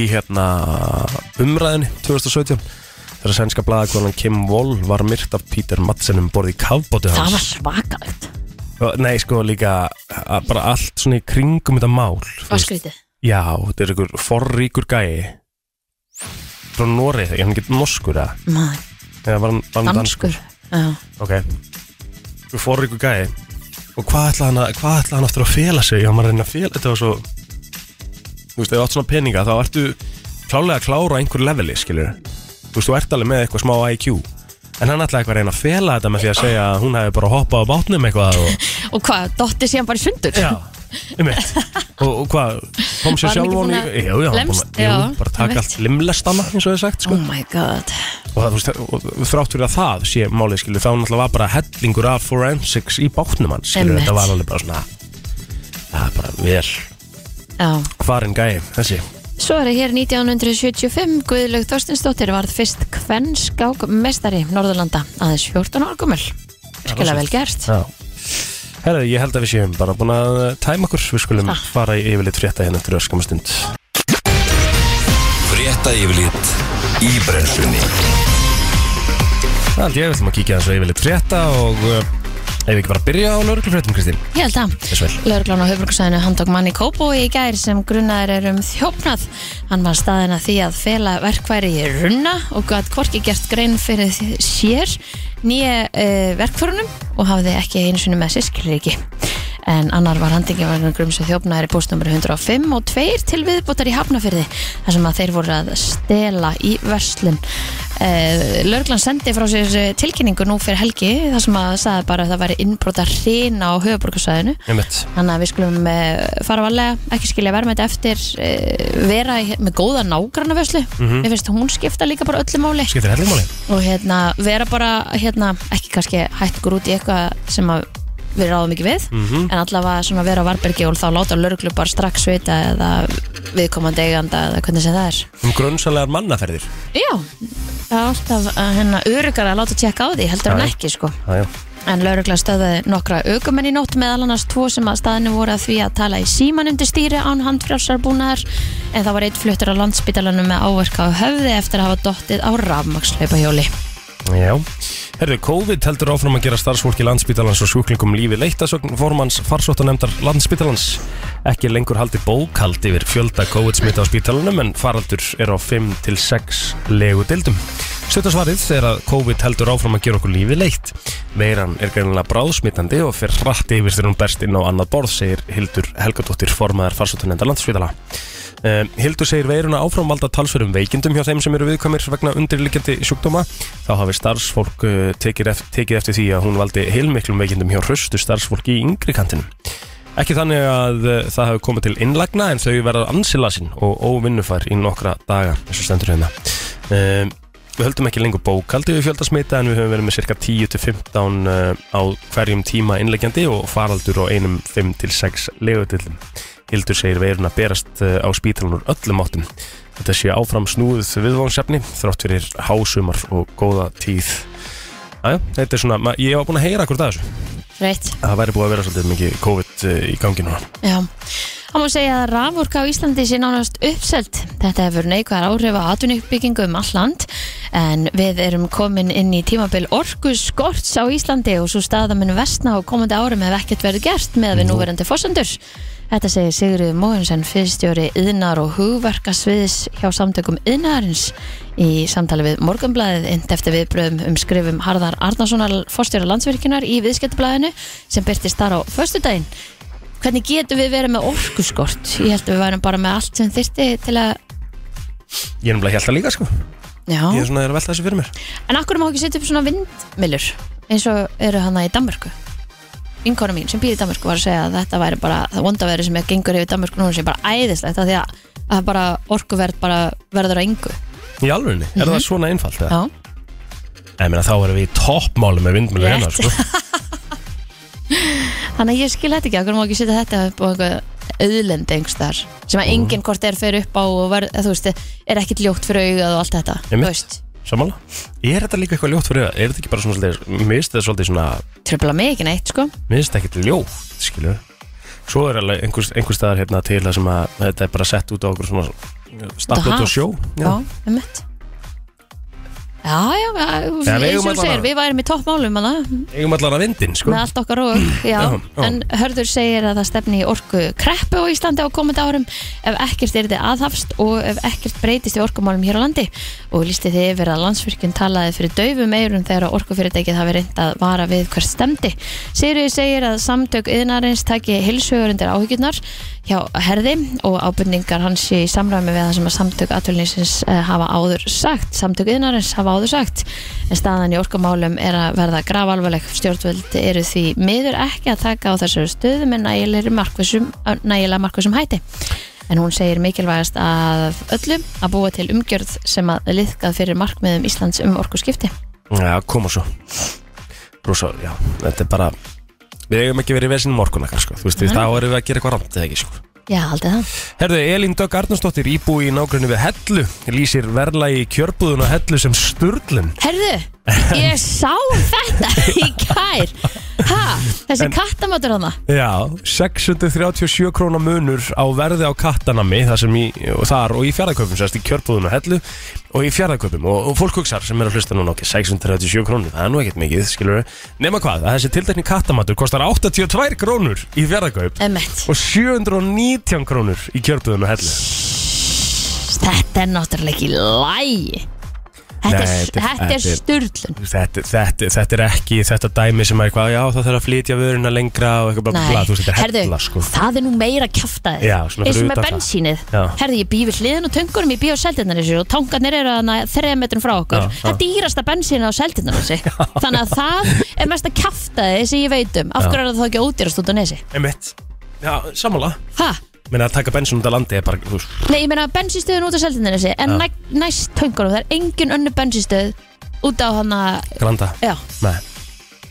í hérna umræðinni 2017 þegar sænska blaðakonan Kim Wall var myrt af Peter Madsen um borði í kafbótu
Það var
hans
svakalegt.
Og- Nei, sko líka að bara allt svona í kringum þetta mál þú
Var
veist.
skrítið.
Já, þetta er einhver forríkur gæi frá Norið, ég hann getur norskur eða
Maður,
eða var hann, var hann
danskur. Já.
Ok Þú fór ykkur gæði Og hvað ætlaði hann, að- hvað ætlaði hann aftur að fela sig Já, maður að reyna að fela Þetta var svo Þú veist, ef þú átt svona peninga Þá ertu klálega að klára á einhver leveli, skilur Þú veist, þú ert alveg með eitthvað smá IQ En hann ætlaði eitthvað að reyna að fela þetta með því að segja að hún hefði bara hoppað á bátnum eitthvað og,
Og hvað, dotti síðan bara í sundur?
Já, um eitt Og, og hvað, kom sér
Var hann ekki
sjálf hún í
búinn að
Já, já, hann
lemst?
búinn að-
Já,
jú, bara
einmitt.
taka allt limlestana eins og þið sagt, sko
Oh my god.
og, það, þú veist, og þrátt fyrir að það sé málið skilur, þá náttúrulega var bara hellingur af forensics í bátnum hans skilur,
Einmitt.
þetta var alveg bara svona það er bara vel
Já.
farin gæi, þessi
Svo er það hér 1975 Guðlaug Þorstinsdóttir varð fyrst kvennskák mestari Norðurlanda aðeins 14 ára gummul Skilja vel gert
Já. Herra, ég held að við séum bara búin að eh, tæma okkur, við skulum
Ah.
fara í yfirleitt frétta hérna eftir öskamastund
Frétta yfirlit í brennslunni
Það held ég, við ætlum að kíkja þessu yfirleitt frétta og eh, ef við ekki bara byrja á lauruglufréttum Kristín,
Ég held að
þess vel
Lörglán á höfbruksæðinu handtók manni Kóbói í gær sem grunnaður er um þjófnað. Hann var staðin að því að fela verkværi í runna og gætt hvorki gert grein fyrir því- sér nýja uh, verkfærunum og hafði ekki einu sinni með sískilriki. En annar var handingin var grumsu þjófnaður í bústnumur 105 og tveir til viðbútar í Hafnafyrði þar sem að þeir voru að stela í verslun. Uh, Lörglann sendi frá sér eh, tilkynningu nú fyrir helgi þar sem að sagði bara að það væri innbrota hreina á höfuborgarsæðinu
Einmitt.
Þannig að við skulum eh, fara varlega, ekki skilja verma þetta eftir, eh, vera í- með góða nágrannavöslu. Mér finnst hún skipta líka bara öllu máli
Mhm. Skiptir hellingmáli?
og hérna, vera bara, hérna, ekki kannski hættur út í eitthvað sem að við ráðum ekki við,
Mhm.
en allavega svona vera á varbergi og þá láta lörglu bara strax vita eða viðkomandi eiganda eða hvernig sem það er.
Um grunnsalega mannaferðir
Já, það er alltaf eh, hérna, örugar að láta tjekka á því, heldur hann
Já, já.
ekki sko.
ah,
En laurugla stöðaði nokkra aukumenn í nótt meðal annars tvo sem að staðinu voru að því að tala í síman undir stýri án handfrjálsarbúnaðar en það var eitt fluttur á landsbytalanum með áverka á höfði eftir að hafa dottið á rafmakslöpahjóli.
Já, herðu, COVID heldur áfram að gera starfsfólki Landspítalans og sjúklingum lífi leittasögn formans farsóttanemdar Landspítalans. Ekki lengur haldi bókald yfir fjölda COVID-smita á spítalanum en faraldur er á 5 til 6 legu dildum. Stuttasvarið er að COVID heldur áfram að gera okkur lífi leitt. Veiran er greinilega bráðsmitandi og fer hratt yfir þegar hún berst inn á annað borð, segir Hildur Helgadóttir formaðar farsóttanemdar Landspítala. Um, Hildur segir veiruna áframvalda talsverðum veikindum hjá þeim sem eru viðkvæmir vegna undirliggjandi sjúkdóma. Þá hafi starfsfólk eh, uh, tekið, eft tekið eftir því að hún valdi heilmiklum veikindum hjá hraustu starfsfólki í yngri kantinum. Ekki þannig að eh, það hafi komið til innlagna en þau verða ansilasinn og óvinnufær í nokkra daga eins og stendur hérna. Um, við höldum ekki lengur bókaldi við fjöldasmita en við höfum verið með cirka 10-15 uh, á hverjum tíma innleggjandi og faraldur á einum 5-6 legutillum. Hildur segir veiruna berast eh, á spítalun úr öllum áttum. Þetta sé áfram snúið viðváðsefni þrátt fyrir hásumar og góða tíð. Æja, þetta er svona, ma- ég var búin að heyra akkur það þessu
Reitt,
að það væri búið að vera svolítið mikið COVID eh, í gangi núna
já. Það má segja að rafurka á Íslandi sé nánast uppselt. Þetta hefur neikvæðar áhrif á atvinnuppbyggingu um all land en við erum komin inn í tímabil orku skorts á Íslandi og svo staða mun vestna á komandi árum ef ekkert verður gert með við núverandi fórsendur. Þetta segir Sigurður Móhensen, fyrstjóri yðnar og hugverkasviðs hjá samtökum yðnarins í samtali við Morgunblæðið int eftir viðbröðum um skrifum Harðar Arnasonar, fórstjóra landsvirkjunar í viðskiptablaðinu sem byrtist þar á föstudaginn hvernig getum við verið með orkuskort ég held að við værum bara með allt sem þyrti til að
Ég er nefnilega held að líka sko
já,
Ég er svona er að velta þessu fyrir mér
en akkur má ekki setja upp svona vindmilur eins og eru hana í Danmörku vinkona mín sem býr í Danmörku var að segja að þetta væri bara það vondaverið sem er gengur yfir Danmörku núna sem bara æðislegt af því að, að bara orkuverð bara verður að yngu
Í alvegni, er
Mhm.
það svona einfalt eða?
já,
Nei, meina, þá erum við í toppmáli með vindmjölu
Rétt.
hérna sko.
[laughs] þannig að ég skil þetta ekki akkur má ekki setja þetta upp á einhver auðlendi einhver sem að enginn hvort er fyrir upp á og verð, þú veist, er ekkit ljótt fyrir augað og allt þetta þú
Einmitt.
veist,
Sammála Er þetta líka eitthvað ljótt fyrir það? Er þetta ekki bara svona svolítið Mist þetta svolítið svona
tröfla mig ekki neitt sko
Mist ekkert ljótt, skilur Svo er alveg einhvers, einhvers staðar hérna til það sem að þetta er bara sett út á okkur svona
Út á
Staplut
haf.
og sjó
Já, einmitt Já, já, já,
Já, við
eins
eigum
og þú
allan
segir,
að-
við værum í toppmálum hana,
Eigum allar að vindin, sko
með allt okkar og já.
Já, já.
en Hörður segir að það stefni í orku kreppu á Íslandi á komandi árum ef ekkert er þið aðhafst og ef ekkert breytist í orkumálum hér á landi og lísti þið yfir að landsfyrkjun talaði fyrir daufum eirum þegar að orkufyrirtækið hafi reynd að vara við hvert stemdi. Sigriður segir að samtök yðnarins taki hilsugur undir áhyggjurnar hjá herði og ábyrningar hans sé í samræmi við það sem að samtök atvölinsins hafa áður sagt samtök yðnarins hafa áður sagt en staðan í orkumálum er að verða gravalvarleg stjórnvöld eru því miður ekki að taka á þessari stöðu með nægilega markvissum, nægilega markvissum hætti en hún segir mikilvægast að öllum að búa til umgjörð sem að liðkað fyrir markmiðum Íslands um orkuskipti
Já, koma svo Rosa, já, þetta er bara Við eigum ekki verið í vesinn morgun ekkert, sko Þú veist, þá erum við að gera eitthvað ramt eða ekki, sko
Já, aldrei það
Herðu, Elín Dögg Arnarsdóttir íbúi í nágrunni við Hellu lýsir verðlagi kjörbúðun á Hellu sem sturlun
Herðu, ég sá þetta í gær ha, Þessi kattamatur hana
Já, 637 krónar munur á verði á kattanami þar sem í, og þar og í fjárðaköpum sérst í kjörbúðun á Hellu og í fjárðaköpum og, og fólk hugsar sem er að hlusta núna ok, 637 krónur, það er nú ekkert mikið, skilur við Nema hvað, að þessi tildekni kattamatur kostar 82 krónur í fjárðaköp
Emmett,
og 719 krónur í kjörbúðun á Hellu
þetta er náttúrulega ekki lægi Þetta
Nei,
er,
þetta er-
þetta er
þetta er-
sturlun
þetta, þetta, þetta er ekki þetta dæmi sem er eitthvað, já það þarf að flytja vöruna lengra og eitthvað bla, bla, bla, þú veist, þetta er
herðu,
hella sko
það er nú meira kjaftaði
Já, svona
Eins
fyrir
og með
utan það.
bensínið
Já.
Herðu, ég býð við hliðin og töngunum, ég býð á seldinnar þessu og tangarnir eru þarna þreja metrum frá okkur
Já,
Það er dýrasta bensínið á seldinnar
[laughs]
þessu Þannig að það er mesta kjaftaði sem ég veit um Af
Já.
hverju er það þá ekki ódýrast út á nesi?
Einmitt. já, sammála
Ha?
menna að taka bensin út af landi er bara, þú veist,
Nei, ég meina bensinstöðun út á Seltjarnarnesi en næ, næst töngunum, það er engin önnu bensinstöð út á hana,
granda
já,
nei,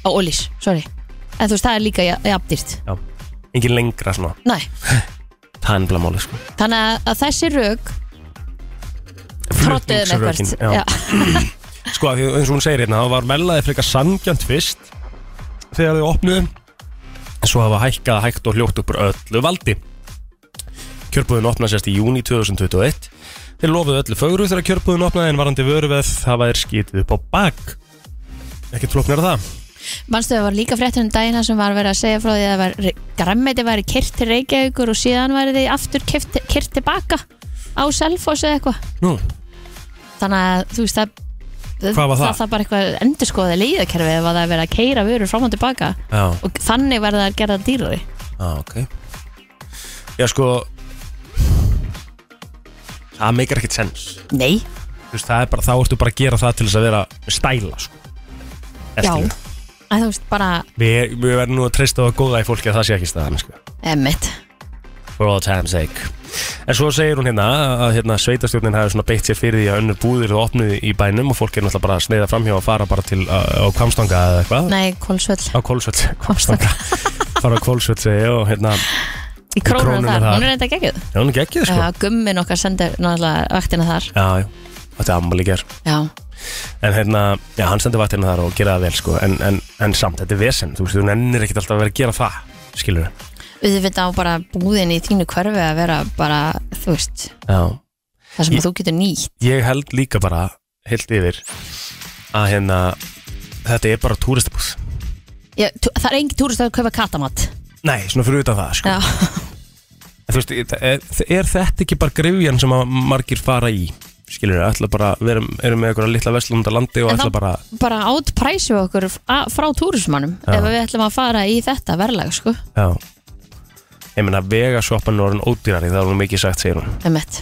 á Ólís, sorry en þú veist, það er líka jafndýrt
já, engin lengra svona
Nei,
það er ennbla máli sko
þannig að- að þessi rök trottuðum
Flutningsrökin,
eitthvað
já.
já. [laughs]
sko, af því, eins og hún segir hérna, þá var mellaði frekar sangjönd fyrst þegar þau opnuðu en svo hafa hækkað hægt og hljótt upp úr öllu valdi Kjörbúðin opnaði sérst í júni 2021 Þeir lofuðu öllu fögru þegar kjörbúðin opnaði en varandi vöruveð hafa þeir skítið upp á bak Ekki tróknar það
Manstu það var líka fréttur um dagina sem var verið að segja frá því að það var græmmeiti væri kyrt til Reykjavíkur og síðan væri þið aftur kyrt, kyrt tilbaka á Selfoss eða eitthvað
Nú,
þannig að þú veist það
Hvað var það?
Það, það bara eitthvað endurskoði leiðakerfi ef að það er verið að keira vörur fram og tilbaka
já,
og þannig verða það að gera það dýrari
já, ok Já, sko Það meikar ekkert sens
Nei,
Þú veist, það er bara, þá ertu bara að gera það til þess að vera stæla, sko
já,
Ertu?
að þú veist bara
Við, við verðum nú að treysta á að góða í fólki að það sé ekki staðan sko.
emmitt
For all time's sake En svo segir hún hérna að hérna, sveitastjórnin hafi svona beitt sér fyrir því að önnur búðir og opnið í bænum og fólk er náttúrulega bara að sneiða framhjá og fara bara til uh, á Kvamstanga eða eitthvað
nei, kólsvöll
Á
[laughs]
Kólsvöld Kvamstanga Fara á Kólsvöld segi ég, og hérna
í krónum
krónunni
þar,
þar.
hún er enda geggjuð
Já, hún er geggið sko
Já, gummin okkar sendir náttúrulega vaktina þar
Já, já Þetta er ammali ger
Já,
En hérna, já, hann sendur vaktina þar og gera það vel sko En, en, en samt, þetta er vesen Þú veist, þú nennir ekkert alltaf að vera að gera það Skilur
við veit á bara búðin í þínu hverfi að vera bara, þú veist
Já
það sem
Ég-
þú getur nýtt
ég held líka bara heilt yfir að hérna þetta er bara túristabúð
Ég, tú, Það er engin túrist að kaupa katamat
Nei, svona fyrir utan það sko.
Já,
En Þú veist, er, er þetta ekki bara grifjan sem að margir fara í skilur, ætla bara, við erum, erum með einhverja litla verslum út á landi og
En
ætla
þá-
bara
bara átpræsum við okkur a- frá túrismannum
Já.
ef við ætlum að fara í þetta verðlag sko,
já. ég meina vegasvoppan orðin ódýrari, það er nú mikið sagt segir hún
emmitt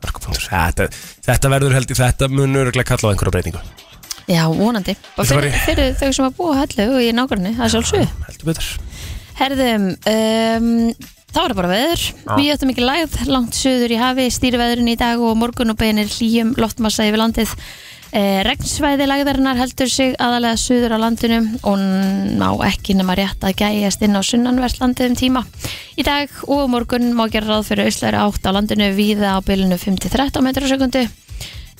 Orkupunktur. þetta, þetta verður held í þetta mun öruglega kalla á einhverja breytingu
Já, vonandi, bara
Þetta var
fyrir,
í-
fyrir þau sem að búa á hellu og í nágrunni, það er sjálfsög
heldur betur
Herðum, um, þá er það bara veður. Við ættum ekki lægð langt söður í hafi, stýriveðurinn í dag og morgun og beinir hlýjum loftmassa yfir landið. Eh, regnsvæði lægðarinnar heldur sig aðalega söður á landinu og ná ekki nema rétt að gæjast inn á sunnanvert landið um tíma. Í dag og á morgun má gera ráð fyrir auðslega átt á landinu víða á bylunu 5-13 metrar á sekundu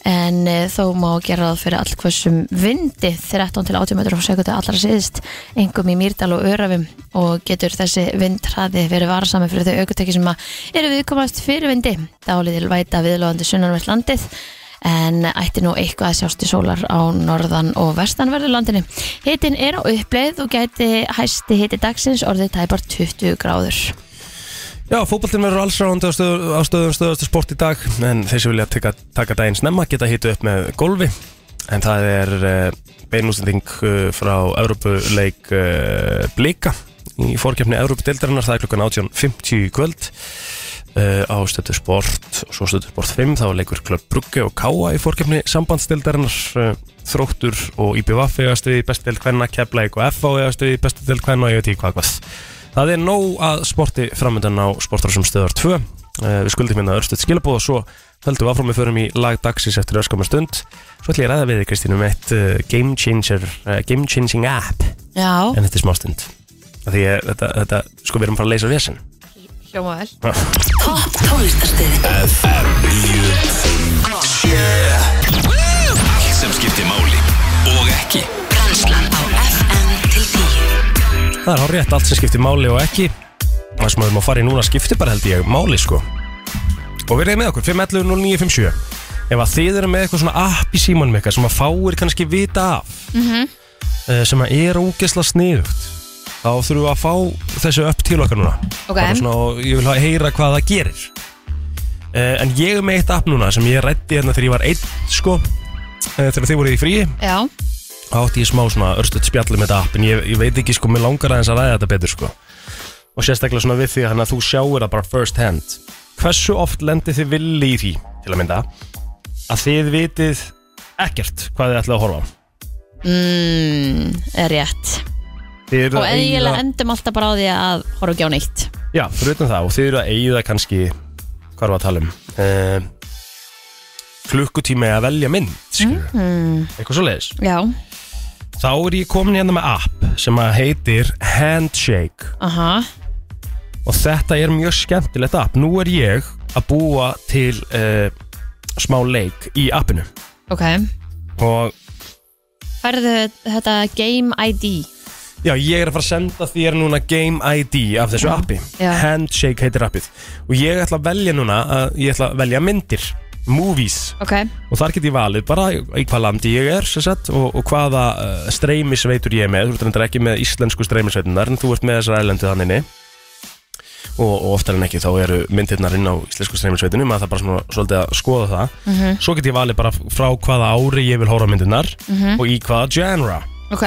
en eh, þó má gera það fyrir allkvössum vindi 13 til 80 metrum á sekundu allra síðist engum í Mýrdal og Örafum og getur þessi vindhraði verið varsami fyrir þau aukutekki sem að eru viðkomast fyrir vindi dálítil væta viðlóðandi sunnanvert landið en ætti nú eitthvað að sjást í sólar á norðan og vestanverðu landinu. Hitin er á uppleið og gæti hæsti hiti dagsins orðið tæpar 20 gráður.
Já, fótboltinn verður allsráðandi á, stöð, á stöðum stöðastu sport í dag en þeir sem vilja taka, taka daginn snemma geta hýtu upp með golfi en það er uh, beinúsending uh, frá Evrópuleik uh, Blika í fórkjöfni Evrópudeildarinnar, það er klukkan 18.50 í kvöld uh, á stöðu sport og svo stöðu sport 5 þá leikur klubb Brugge og Káa í fórkjöfni sambandsdeildarinnar uh, þróttur og IBVF eða stuði besti deild hvenna, Keflæk og FH eða stuði besti deild hvenna og ég veit ekki hvað hvað Það er nóg að sporti framöndan á sportrásum stöðar 2 uh, Við skuldum hérna örstuðt skilabóð og svo höldum við áfram við förum í lag dagsins eftir öskamar stund Svo ætlum ég að ræða við þig Kristín um eitt uh, game, changer, uh, game changing app
Já,
en þetta er smá stund Því ég, þetta, þetta, sko við erum bara að leysa vesen
hljóma vel.
Topp tónlistarstöð
Allt sem skiptir máli og ekki
Brennslan á FM til 10
Það er hár rétt allt sem skiptir máli og ekki Það sem við erum að fara í núna skiptir bara held ég máli sko Og verið með okkur 511 0957 Ef að þið eru með eitthvað svona app í símanum ykkar sem að fáir kannski vita af
Mhm.
-hmm. sem að er ógesla sniðugt þá þurfum við að fá þessu upp til okkar núna
Ok.
Bara svona, og ég vil hafa- heyra hvað það gerir uh, En ég er með eitt app núna sem ég rætti hérna þegar ég var einn sko uh, þegar þið voruð í fríi
Já,
þá átti ég smá svona örstuðt spjall um þetta app en ég, ég veit ekki sko, mér langar aðeins að ræða þetta betur sko og sérstaklega svona við því hann að þú sjáir það bara first hand hversu oft lendir þið villi í því til að mynda að þið vitið ekkert hvað þið ætlaði að horfa á
mm, er rétt.
Þið eruð
og
að eyða-
eiginlega endum alltaf bara á því að horfa ekki á neitt
Já, fyrir utan það og þið eru að eigða kannski hvað er að tala um uh, klukkutími að velja mynd mm -hmm. eitthvað svo leiðis
já,
þá er ég komin hérna með app sem að heitir Handshake
aha,
og þetta er mjög skemmtilegt app nú er ég að búa til uh, smá leik í appinu
ok
og
færðu þetta Game ID
já, ég er að fara að senda þér núna Game ID af þessu appi
Já.
Handshake heitir appið og ég ætla að velja núna að ég ætla að velja myndir movies
ok,
og þar get ég valið bara í hvað landi ég er sem sagt, og, og hvaða uh, streymisveitur ég er með, þú ert reyndar ekki með íslensku streymisveitunar en þú ert með þessar ælendu þannig og, og oftar en ekki þá eru myndirnar inn á íslensku streymisveitunum maður það bara svona, svolítið að skoða það svo get ég valið bara frá hvaða ári ég vil hóra myndirnar og í hvaða genre
ok,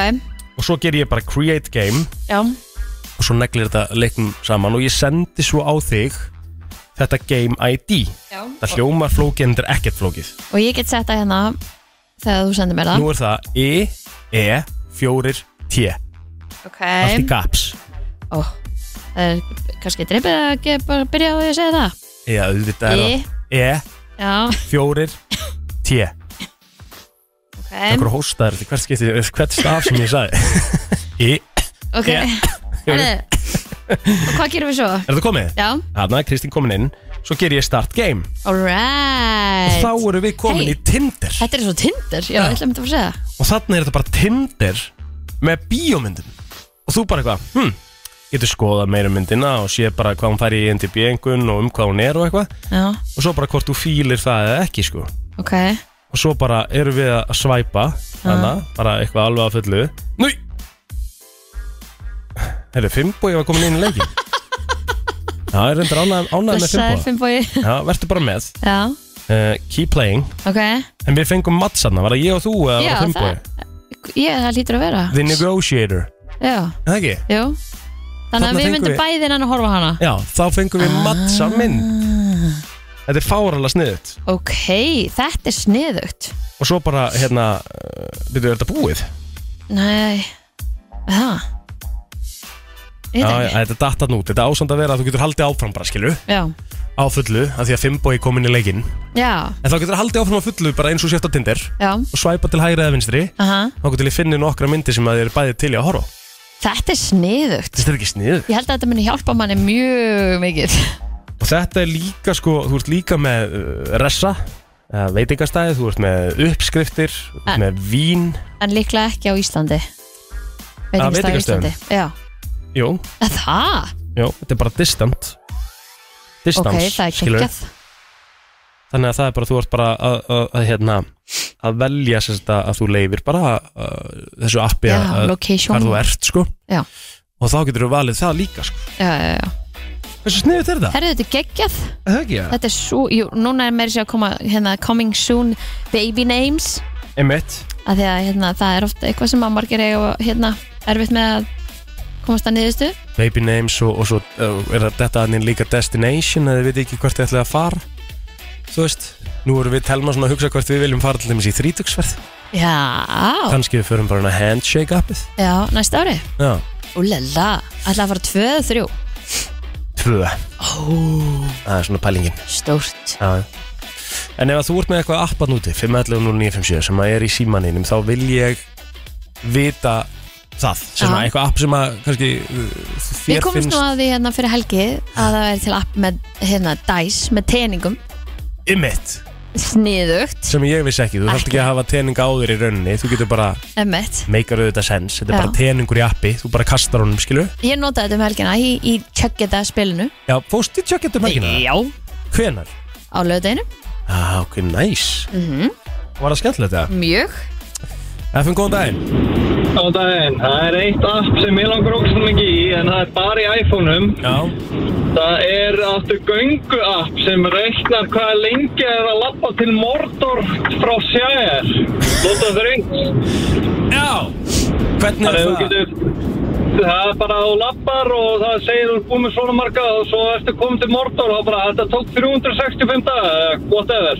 og svo ger ég bara create game
já
og svo neglir þetta leiknum saman og ég sendi svo á þig þetta game ID
Já.
það hljómar flókið en þetta er ekkert flókið
og ég get sett það hérna þegar þú sendir mér það
Nú er það I, E, 4, T
Ok,
allt í gaps
ó, það er kannski dreipið að ge- bara byrja á því að segja það
Já, auðvitað er
Í.
það E,
Já,
fjórir, T
[laughs] ok,
Akkur hóstaður til hvert skipti, hvert staf sem ég sagði [laughs] Í,
ok [laughs]
Yeah.
Herðu, Og hvað gerum við svo?
er það komið?
Já,
Þarna er Kristín komin inn, svo ger ég start game
alright
Þá eru við komin
Hey.
í Tinder
Þetta er svo Tinder, já, ég ætla að mynda að fara að segja það.
Og þarna er þetta bara Tinder með bíómyndum Og þú bara eitthvað, hm Getur skoðað meira um myndina og sé bara hvað hún fær í NTB-engun og um hvað hún er og eitthvað
Já,
Og svo bara hvort þú fílir það eða ekki sko
ok,
og svo bara erum við að svæpa hana, bara eitthvað alveg að fullu Núi Herru, Fimboi var komin inn í
[laughs]
leikin Já, ég er reyndar ánægð ánægð með
blessaður
Fimboi
Fimboi
Já, verður bara með
Já,
uh, Keep playing
ok
En við fengum matsanna, var það ég og þú eða
Já,
var það Fimboi?
það, ég, það lítur að vera
The Negotiator
Já,
Það ekki?
jú Þannig
Þarna
að við
fengum
myndum
við-
bæði innan að horfa á hana
Já, þá fengum við matsa mynd
Ah.
Þetta er fárala sniðut
Ok, þetta er sniðugt
Og svo bara, hérna, uh, byrjuðu, er þetta búið?
Nei, það Ég
Já, já,
veit ekki
þetta datt hann út, þetta ásand að vera að þú getur haldið áfram bara, skilu
Já,
á fullu af því að Fimboi kom inn í leikinn en
já,
þá getur það haldið áfram á fullu bara eins og sért á Tinder
já
og svæpa til hægri eða vinstri
aha.
þá getur ég finni nokkra myndir sem að þið eru bæði til í að horfa á.
Þetta er sniðugt
Þetta er ekki snið
Ég held að þetta muni hjálpa manni mjög mikið
og þetta er líka sko, þú ert líka með uh, ressa eða veitingastæði, þú ert með uppskriftir þú ert
En-
með vín
En líklega ekki á Íslandi Veitingastað á
veitingastöðum?
Íslandi Já,
jú,
Að það,
jú, þetta er bara distant
ok,
distance,
það er
skilurðu.
kekjað
þannig að það er bara, þú ert bara að, að, að, hérna, að velja sem sagt, að- að þú leifir bara að, þessu appi
Já,
að, að
location
hvar þú ert sko
Já.
og þá getur þú valið það líka sko.
Já, já, já
hversu sniðut er það?
Herðu þetta er geggjað,
Það ekki ég
þetta er svo, jú, núna er meiri sér að koma hérna coming soon baby names
Emmett
að því að hérna það er ofta eitthvað sem að margir eiga hérna erfitt með að komast að niðurstu
Baby Names og, og svo uh, er það þetta þannig líka Destination eða þið veit ekki hvert þið ætlaði að fara þú veist nú erum við telma svona að hugsa hvert við viljum fara til dæmis í þrítugsverð
Já,
kannski við förum bara hérna handshake appið
já, næsta ári
já
Úlala, ætla að fara tvö eða þrjú
tvö oh. það er svona pælingin
Stórt
já já. en ef að þú ert með eitthvað appan úti 511-0957 sem að er í símaninum þá vil ég vita það sem
Já.
að eitthvað app sem að kannski uh,
Við
þér
komumst nú
finnst
að því hérna fyrir helgi að það er til app með hérna dice með teningum
ymmit
sniðugt,
sem ég vissi ekki, þú þarft ekki að hafa tening á þér í rauninni, þú getur bara
emmett
meikar auðvitað sens, þetta er
Já.
bara teningur í appi þú bara kastar honum, skilu
Ég notaði þetta um helgina í, í Chuck It That spilinu
Já, fórstu í tjökkjöndu mækina?
Já
Hvenar?
Á lögdeginu
Já, Ah, ok, næs mm
Mhm.
-hmm. Var það skemmtilegt það?
Mjög
FM, góðan daginn
Góðan daginn, það er eitt app sem ég langar ógst mikið í en það er bara í iPhone-um.
Já,
Það er aftur göngu app sem reiknar hvað lengi er að lappa til Mordor frá Sjæjar. Lóta þrjum.
já Hvernig
Það
er
er þú
það?
getur... Það er bara að þú lappar og það segir þú er búið með svona marga og svo ertu komið til Mordor og þá bara þetta tók 365 daga, eða whatever.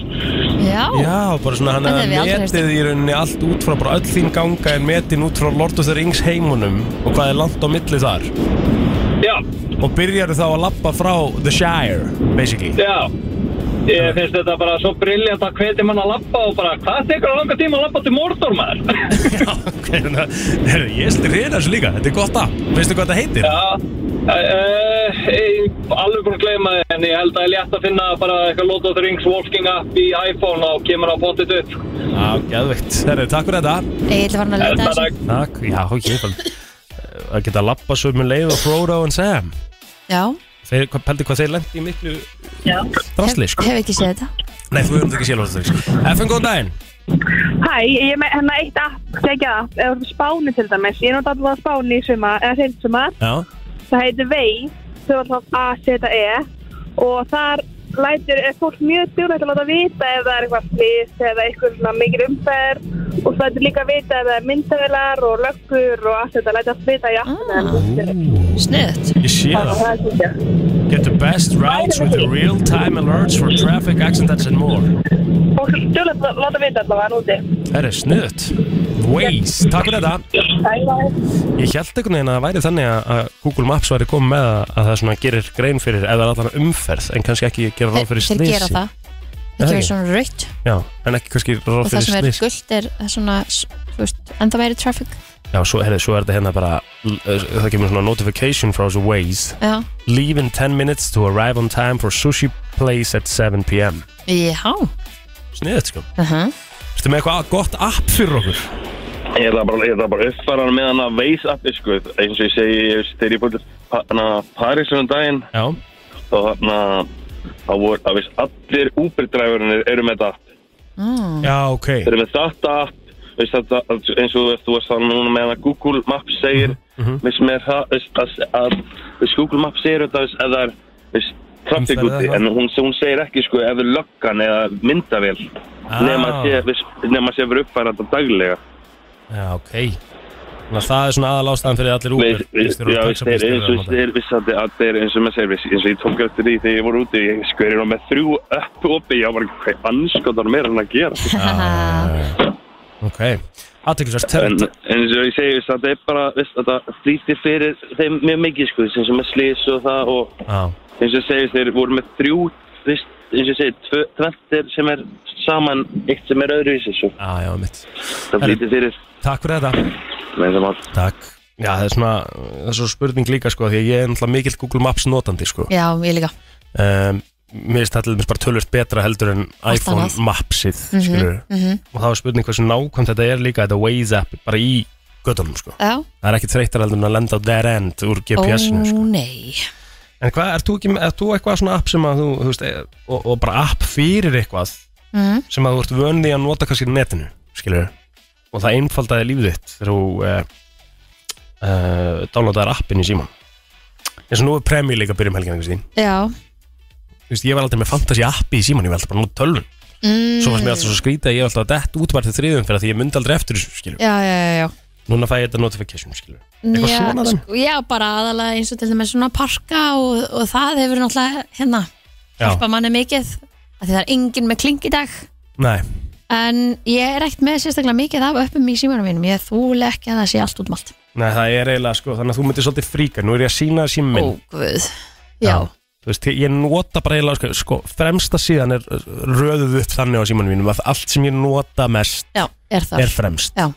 Já,
Já, bara svona hann
Þetta
að
hef ég aldrei heyrt um.
metið í rauninni allt út frá bara öll þín ganga er metin út frá Lord of the Rings heimunum og hvað er langt á milli þar
Já,
og byrjarðu þá að lappa frá The Shire, [laughs] basically
já. Ég finnst þetta bara svo brilljant að hveti mann að lappa og bara hvað tekur að langa tíma að lappa til Mordor maður?
Já, ok, þannig að Herru, ég styrir hérna þessu líka, þetta er gott app Veistu hvað þetta heitir?
Já, uh, alveg búin að gleyma þið, en ég held að ég létt að finna bara eitthvað Lord of the Rings walking app í iPhone og kemur á potið upp.
Já, geðveikt Herru, takk fyrir þetta
ég ætla farin að leita
Þetta
þessu
dag,
Takk, já, ok bara- Að geta að lappa svo með leið og Frodo og Sam
Já,
Þeir, hvað, pældi hvað þeir lendi í miklu drastli,
hef,
sko
hef ekki séð þetta
Nei, þú erum þetta ekki sjálf þetta FN, sko. góðan daginn
Hæ, ég er með hennar eitt app, tekja app, eða frá Spáni til dæmis. Ég er náttúrulega alltaf á Spáni í sumar, eða seint sumar.
Já,
Það heitir Vei, þau er alltaf A-Z-E og þar lætir, er fólk mjög djúlega að láta vita ef það er eitthvað slýst eða eitthvað svona mikil umferð og það lætir líka vita ef það er myndavilar og löggur og allt þetta, lætir allt vita í
Ah.
appinu. Mm.
Sniðut
ég sé það
Það er svolítið.
Get the best routes with the real-time alerts for traffic accidents and more
Fólk er djúlega að láta vita allavega hann úti.
Það er snuðt Waze, takk fyrir þetta
Oh.
Ég held einhvern veginn að það væri þannig að- að Google Maps væri komið með að að það svona gerir grein fyrir eða allan umferð en kannski ekki gera ráð fyrir
Þeir
slisi
gera það
Er
Það
það
kemur
ekki?
svona rautt
Já, en ekki kannski ráð
og það
fyrir
sem er
slisi
gullt er svona, þú veist, enda meiri traffic
Já, svo, herri, svo er þetta hérna bara það kemur svona notification frá þessu Waze
Já,
Leave in 10 minutes to arrive on time for sushi place at 7pm
já
Sniðið, sko
uh -huh.
Ertu með eitthvað gott app fyrir okkur?
Ég ætla bara, ég ætla bara að uppfæra hann með hann að veis appi sko eins og ég segi ég- þegar ég búið til París um daginn
Já,
þá þarna þá voru að viss allir Uber-dræfurnir eru með þetta app.
já, ok
þeir eru með þetta app viss, þetta, eins og þú veist þannig núna með að Google Maps segir
Mhm,
mm -hmm. viss, með það viss, að, að viss, Google Maps segir þetta viss, eða er viss, traffic
Umferð
úti
eða
en hún, hún segir ekki sko ef er löggan eða myndavél
Ah.
nema sé, viss, nema sé verið uppfæra þetta daglega
Já, ok Þannig að það er svona aðal ástæðan fyrir allir Uber
Við- við-
bílstjórar
já, við-
og
þeir
taxabílstjórar
eins
að
og
nota.
þeir vissi að að þeir eins og maður segir vissi, eins og ég tók eftir því þegar ég voru úti ég sko er ég nú með þrjú upp opið ég var bara hvað anskotar meira en að gera
[laughs] Ok, aðteklisvært
en eins og ég segi vissi, þetta er bara vissi, þetta flýtir fyrir þeim mjög mikið sko eins og með slís og það og
Já,
eins og ég segi þeir voru með þrjú vissi, eins og ég segi tvö- tvennt er sem er saman eitt sem er öðruvísi svo
já, já, mitt
það flýtir fyrir
Takk fyrir þetta
með það mál
Takk Já, það er svona, það er svo spurning líka sko Því að ég er náttúrulega mikill Google Maps notandi sko
Já, ég líka
um, Mér finnst allir bara tölvöld betra heldur en iPhone
annað.
Mapsið
Mhm.
mm Og það var spurning hversu nákvæmt þetta er líka Þetta Waze app bara í göttunum sko
Já,
Það er ekki þreytar heldur en að lenda á dead end úr GPS-inu
ó
sko
nei
En hvað, ert þú, ekki, ert þú eitthvað svona app sem að þú, þú veist, eh, og, og bara app fyrir eitthvað
Mm-hmm.
Mhm.
sem að þú ert vöndi að nota kannski á netinu, skilur og það einfaldaði lífið þitt þegar þú uh, uh, downloadaðir appin í síman eins og nú er premjö líka að byrja um helgina Kristín.
Já,
Þú veist, ég var aldrei með fantasy appi í síman, ég var alltaf bara að nota tölvun
mm,
svo fannst mér alltaf svo skrítið að ég var alltaf að dett útvært til þriðum fyrir að því ég myndi aldrei eftir þessu, skilur
já, já, já, já.
núna fæ ég þetta notification, skilur eitthvað
já,
svona þann
sko, já, bara aðalega eins og til dæmis svona parka og, og það hefur náttúrulega hérna, hjálpa manni mikið af því það er enginn með kling í dag
Nei,
en ég er ekkert með sérstaklega mikið af öppum í símanum mínum, ég þúle ekki að það sé allt útmalt
nei, það er eiginlega sko, þannig að þú myndir svolítið fríka, nú er ég að sína síminn
Ó, guð, já,
Þú veist, ég nota bara eiginlega, sko, sko, fremsta síðan er röðuð upp þannig á símanum mínum að allt sem ég nota mest
já, er það
er fremst.
Já.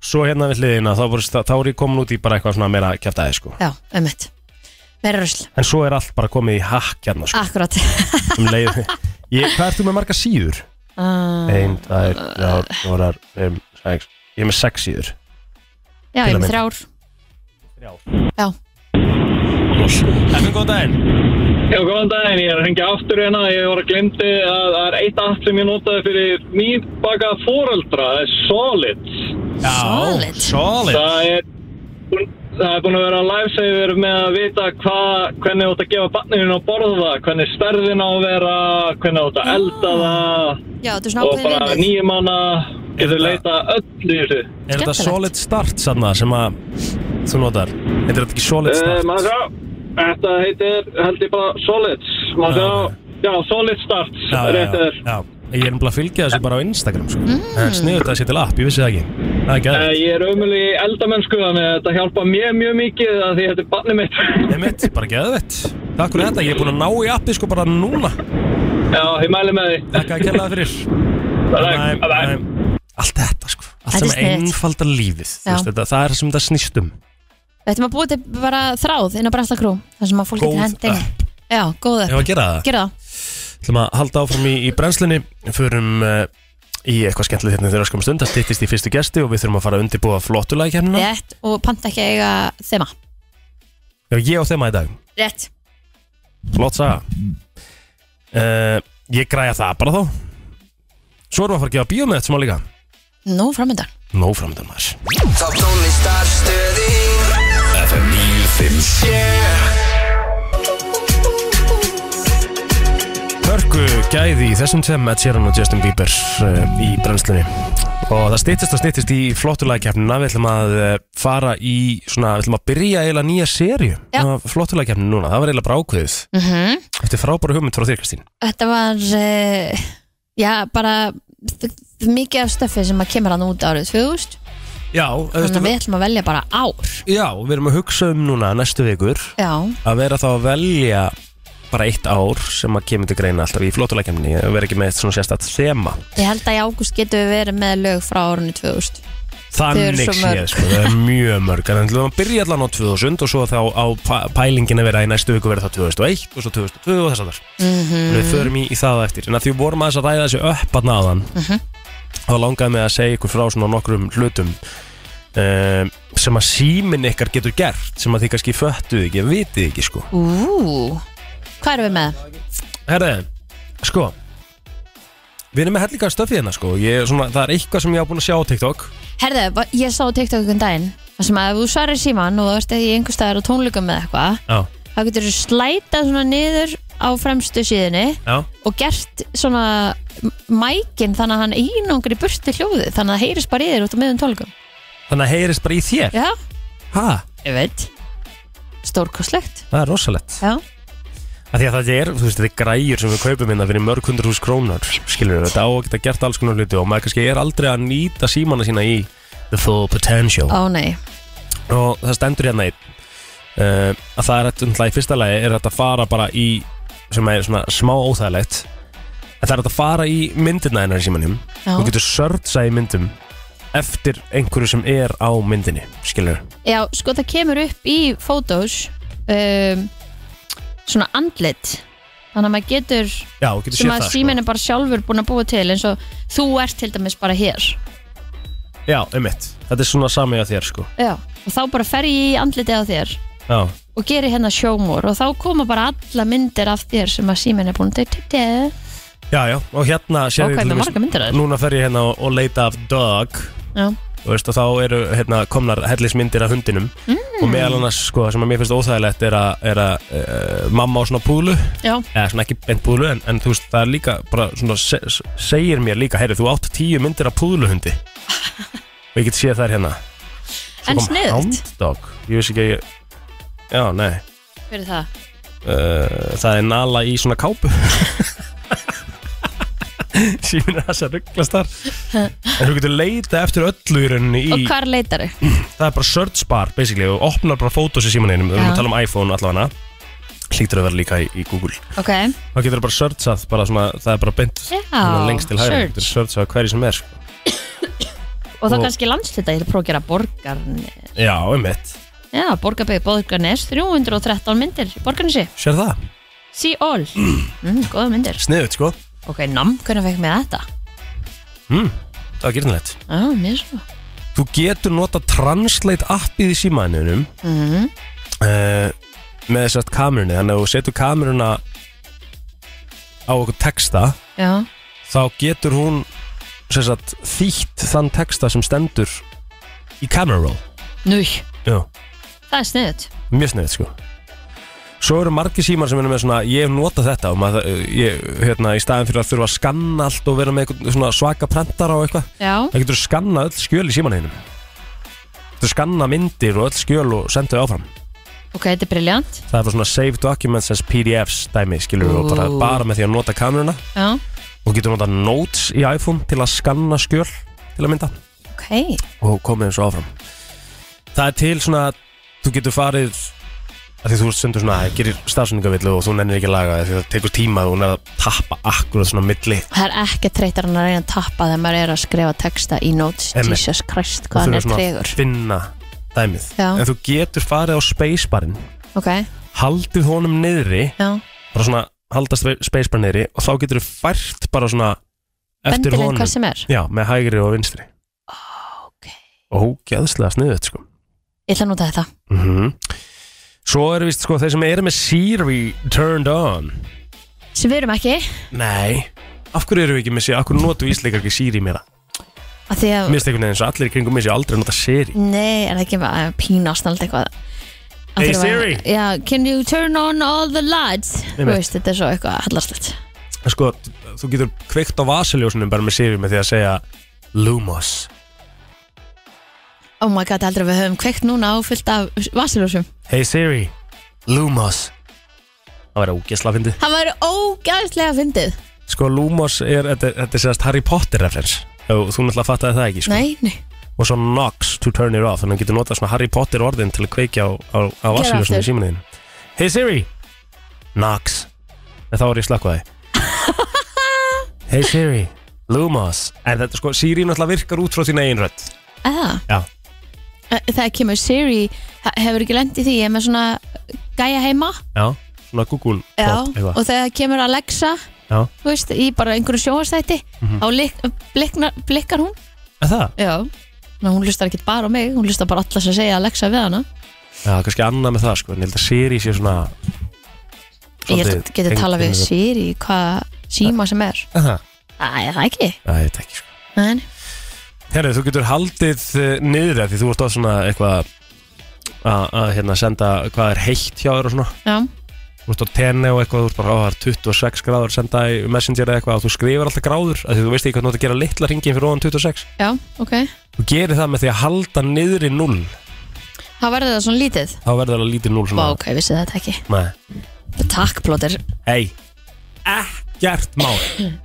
Svo hérna við hliðina, þá, voru, þá er ég komin út í bara eitthvað svona meira kjæftæði, sko.
Já, ummitt Meira rusl,
En svo er allt bara komið í hakk hérna, sko,
akkurat
um leið. Ég, hvað ert þú með marga síður?
Ah,
Einn, tvær, þrjár, fjórar, fimm, sex. Ég er með sex síður.
[laughs] Já,
til
ég
að
er með
mynda.
þrjár Já,
Efum góð daginn.
Já, góðan daginn, ég er að hengja aftur hérna, ég var að glemdi að það er eitt app sem ég notaði fyrir nýbaka foreldra, það er Solid.
Já,
Solid.
solid.
Það er, það er búin að vera lifesaver með að vita hva, hvernig þú átt að gefa barninu að borða, hvernig stærðin á að vera, hvernig þú átt að elda það
Ah. já þetta er svona
og
ákveðin
bara
innið
nýjum manna
Er
getur
þetta-
leita öllu í þessu.
Er þetta
skemmtilegt.
solid start sanna sem að þú notar? Er þetta ekki solid
Eh,
start?
Maður sjá, þetta heitir, held ég bara Solids, maður
Já,
sjá, já, Solid Starts,
Ah, já,
rétt
já,
er.
já. Ég er nefnilega að fylgja þessu bara á Instagram sko.
Mm.
Það er sniður þetta að setja til app, ég vissi það ekki Það er
Eh,
gæðið
Ég er ömulig í eldamennsku þannig að þetta hjálpa mér mjög mikið að því þetta er barnið mitt.
Nei mitt, bara gæðið Takk fyrir þetta, ég er búin að ná í appi sko bara núna
Já, ég mæli með því.
Takk að kella það fyrir
Bye,
Næ,
bye.
næ. Allt þetta sko Allt
Þetta
sem
er sniðugt.
einfaldar lífið Þú
Já.
veist, þetta, Það er það sem þetta snýst um
Við ættum að búa til bara þráð inn á Brastakrú þar sem að fólk
Góð
getur hendin
app.
Já, góð
Ef
upp,
að gera það
gera það
Það maður að halda áfram í, í brennslunni Förum uh, í eitthvað skemmtilegt hérna þegar skamum stund Það styttist í fyrstu gesti og við þurfum að fara að undirbúa flottulega kemna
Rétt, og panta ekki að eiga þema
Já, ég og þeim að í dag
Rétt,
Flott saga uh, Ég græja það bara þá Svo erum við að fara að gefa bíómið þetta smá líka
nú framöndan
Nó framöndan maður
Top tónlistarstöði
FM 957
Hörku gæði í þessum sem Ed Sheeran og Justin Bieber uh, í brennslunni og það styttist og styttist í flottulægkeppnina við ætlum að uh, fara í svona, við ætlum að byrja eiginlega nýja serju
Já.
af flottulægkeppninu núna, það var eiginlega bara ákveðið
mm -hmm.
eftir frábæru hugmynd frá þér Kristín
Þetta var eh, uh, Já, bara þ- þ- mikið af stöffi sem að kemur hann út árið 2000
Já, þú
Þannig
veist,
að við ætlum að velja bara ár
já, við erum að hugsa um núna næstu vikur
Já,
að vera þá að velja bara eitt ár sem að kemur til greina alltaf í flótuleikemni og vera ekki með eitt svona sérstætt þema
ég held að í ágúst getum við verið með lög frá árunni 2000 eru
þannig
svo
séð,
mörg.
sko, það er mjög mörg en þannig að byrja allan á 2000 og svo þá á pæ- pælingin að vera í næstu viku vera þá 2001 og svo 2002 og þess að þar
Mhm.
við förum í, í það á eftir en að því við vorum aðeins að ræða þessu upp að náðan þá langaði mig að segja ykkur frá svona nokkrum hlutum um, sem að síminn ykkar getur gert sem að þið kannski föttuð ekki, vitið ekki sko
Ú, hvað erum við með?
Herre, sko Við erum með hellinga stöfið hérna sko ég, svona, Það er eitthvað sem ég á búin að sjá á TikTok
Herðu, va- ég sá á TikTok einhvern daginn þar sem að ef þú svarir síman og þú ert í einhver staðar á tónleikum með eitthvað
Já,
þá getur þú slætað svona niður á fremstu síðunni
já
og gert svona m- mækinn þannig að hann einangri burti hljóðið þannig að það heyrist bara í þér út á miðum tónleikum
Þannig að heyrist bara í þér
Já,
Ha,
ég veit Stórkostlegt
það er rosalegt
Já,
Af Því að það er, þú veist, þetta er græjur sem við kaupum hérna fyrir mörg hundra hús krónar Skilur við, þetta á að geta gert alls konar hluti og maður kannski er aldrei að nýta símana sína í The full potential
ó nei
og það stendur hérna einn uh, að það er þetta í fyrsta lagi er þetta að fara bara í sem er svona smá óþægilegt að það er þetta að fara í myndina hennar í símanum
Já.
og getur sörtsa í myndum eftir einhverju sem er á myndinni skilur
Já, sko það kemur upp í Photos um, svona andlit þannig að maður getur
Já, og getur
sem
séð
að
það sko.
síminn er bara sjálfur búin að búa til eins og þú ert til dæmis bara hér
sko. Já, um Þetta er svona sami að þér sko
Já. og þá bara fer ég í andlitið á þér
Já,
og geri hérna sjómor og þá koma bara alla myndir af þér sem að síminn er búin til til-
já, já og hérna
og
sér
hvað er með marga myndir af þér
Núna fer ég hérna og, og leita af Doug
Já.
og veist, og þá eru hérna, komnar hellismyndir af hundinum og meðal annars sko, sem að mér finnst óþægilegt er að, er að uh, mamma á svona púlu
Já.
eða svona ekki beint púlu en, en þú veist það er líka bara svona se se- segir mér líka heyrðu þú átt tíu myndir af
[laughs]
púluhundi og ég get séð þær hérna Svo
En
kom
sniðugt.
Hound Dog. ég vissi ekki að ég já nei
Hver er það?
uh, það er nala í svona
[laughs]
kápu síminn er þess að rugglast þar en þú getur leita eftir öllu í rauninni í
Og hvar leitar þau?
það er bara search bar basically og opnar bara fótos í símaninum við erum
Já.
að tala um iPhone allavega hlýtur að vera líka í, í Google
Ok,
þá getur það bara searchað bara svona, það er bara beint
Já,
svona lengst til hægri
search.
getur searchað hverju sem er sko.
og þá
Og-
kannski landslita ég er að prófa að gera borgarnes
já, einmitt
Já, borgarbygg borgarnes 313 myndir, borgarnesi
sér það
See all
[clears throat]
mm, Góða myndir
sniðut sko
Ok, nam, hvernig fekk mér þetta?
mm, það er gyrnilegt
Já, mér svo
þú getur nota Translate appið í símaninum mm með þess að kamerunni þannig að þú setur kameruna á okkur texta
Já,
þá getur hún sem sagt, þýtt þann texta sem stendur í camera roll
nú,
Já.
það er sniðut
mjög sniðið sko Svo eru margir símar sem eru með svona ég hef notað þetta og maður, ég, hérna, í staðin fyrir að þurfa að skanna allt og vera með einhvern svona svaka prentara og eitthvað
Já,
það getur skanna öll skjöl í símaninum getur skanna myndir og öll skjöl og senda þau áfram
ok, þetta er briljant
það er bara svona save documents as PDFs dæmi skilur við og bara,
Ú.
bara með því að nota kameruna
Já,
og getur nota notes í iPhone til að skanna skjöl til að mynda
ok
og komið þessu áfram það er til svona þú getur farið að því þú sendur svona gerir stafsendingavillu og þú nennir ekki að laga það því það tekur tíma og hún er að tappa akkurat svona milli
Það er ekki treytar hann að reyna að tappa þegar maður er að skrifa texta í notes
Einmitt.
Jesus Christ,
Þú
hvað hann
þurfir
er tregur
að finna dæmið
Já.
en þú getur farið á spacebarinn
Ok,
haldið honum niðri
já,
bara svona halda spe- spacebarinn niðri og þá getur þú fært bara svona eftir
bendilegin
honum
hvað sem er
já, með hægri og vinstri
Ok,
og ógeðslega sniðið sko
ég ætla að nota þetta
mm svo eru vist sko þeir sem eru með Siri turned on
Sem við erum ekki,
Nei Af hverju eru við ekki með sér, af hverju notu ísleikar ekki Siri meira?
af því að
Mér stekur neðins og allir í kringum með sér aldrei að nota Siri
Nei, er það ekki bara að pínast allt eitthvað Af
Hey,
því að-
Siri.
Já, can you turn on all the lights Þú
Einmitt.
veist, þetta er svo eitthvað hallarslegt
En Sko, þú getur kveikt á vasaljósunum bara með Siri með því að segja Lumos
Oh my god, heldur að við höfum kveikt núna á fullt af vasiljósum
Hey Siri, Lumos Það væri ógesla að fyndi
Það væri ógæðslega fyndið
Sko, Lumos er, þetta, þetta er sérst Harry Potter referens Þú þú náttúrulega fattaði það ekki, sko
Nei, nei,
og svo Knox to turn it off þannig að þú getur notað svona Harry Potter orðin til að kveikja á, á, á
Gera
vassiljósinu
aftur.
í símanin Hey Siri Knox en þá er ég slakkaði
[laughs]
Hey Siri Lumos en þetta sko, Siri náttúrulega virkar út frá þín eigin rödd
Eða,
Já,
það kemur Siri he- hefur ekki lendið því, ég er með svona gæja heima
já, svona Google
Já,
bot eitthvað
og þegar kemur Alexa
Já,
þú veist, í bara einhverju sjóastætti mm
Mhm.
á lik, blikna, blikkar hún
er það?
já, Ná, hún hlustar ekki bara á mig hún hlustar bara alltaf sem segja Alexa við hana
Já, kannski annað með það sko en ég held að Siri sé svona
ég held að geti talað við
Siri
Siri hvað síma sem er
Það,
Æ, það ekki
það er ekki sko
en,
Herri, þú getur haldið eh, niður að því þú ert að svona eitthvað að að, hérna, senda hvað er heitt hjá þér og svona
já,
þú ert á tenni og eitthvað, þú ert bara á það er 26 gráður senda í messenger eða eitthvað og þú skrifar alltaf gráður af því þú veist ekki hvernig þú átt að gera litla ringin fyrir ofan 26
já, ok
þú gerir það með því að halda niður í 0
það verður það svona lítið
þá verður það að lítið 0
Vá,
svona
ok, vissi þetta ekki
Nei.
takk, plóter
Hei, ekkert mál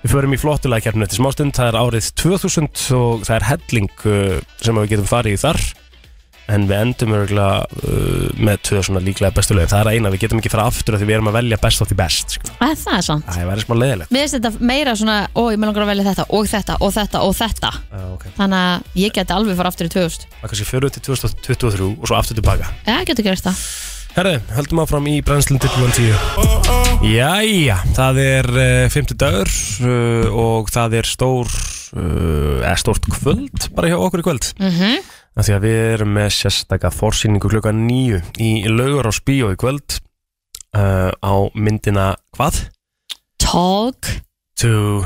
Við förum í flottulega kjarnu eftir smástund Það er árið 2000 og það er helling uh, sem við getum farið í þar En við endum örgulega uh, með tvö svona líklega bestu lögin Það er að eina, við getum ekki fara aftur af því við erum að velja best átt í best sko.
Æ, það er sant
Það er verið smá leðilegt
mér finnst þetta meira svona, ó, ég með langar að velja þetta og þetta og þetta og þetta
okay.
þannig að ég geti alveg fara aftur í 2000
Það kannski förum við til 2023 og svo aftur tilbaka
Já, getur gert það
Herðu, höldum áfram í brennslinn til klukkan 10 Jæja, það er uh, 50 dagur uh, og það er stór uh, eða stórt kvöld bara hjá okkur í kvöld mm -hmm. Því að við erum með sérstaka forsýningu klukkan 9 í laugur á spíó í kvöld uh, á myndina hvað?
Talk
To...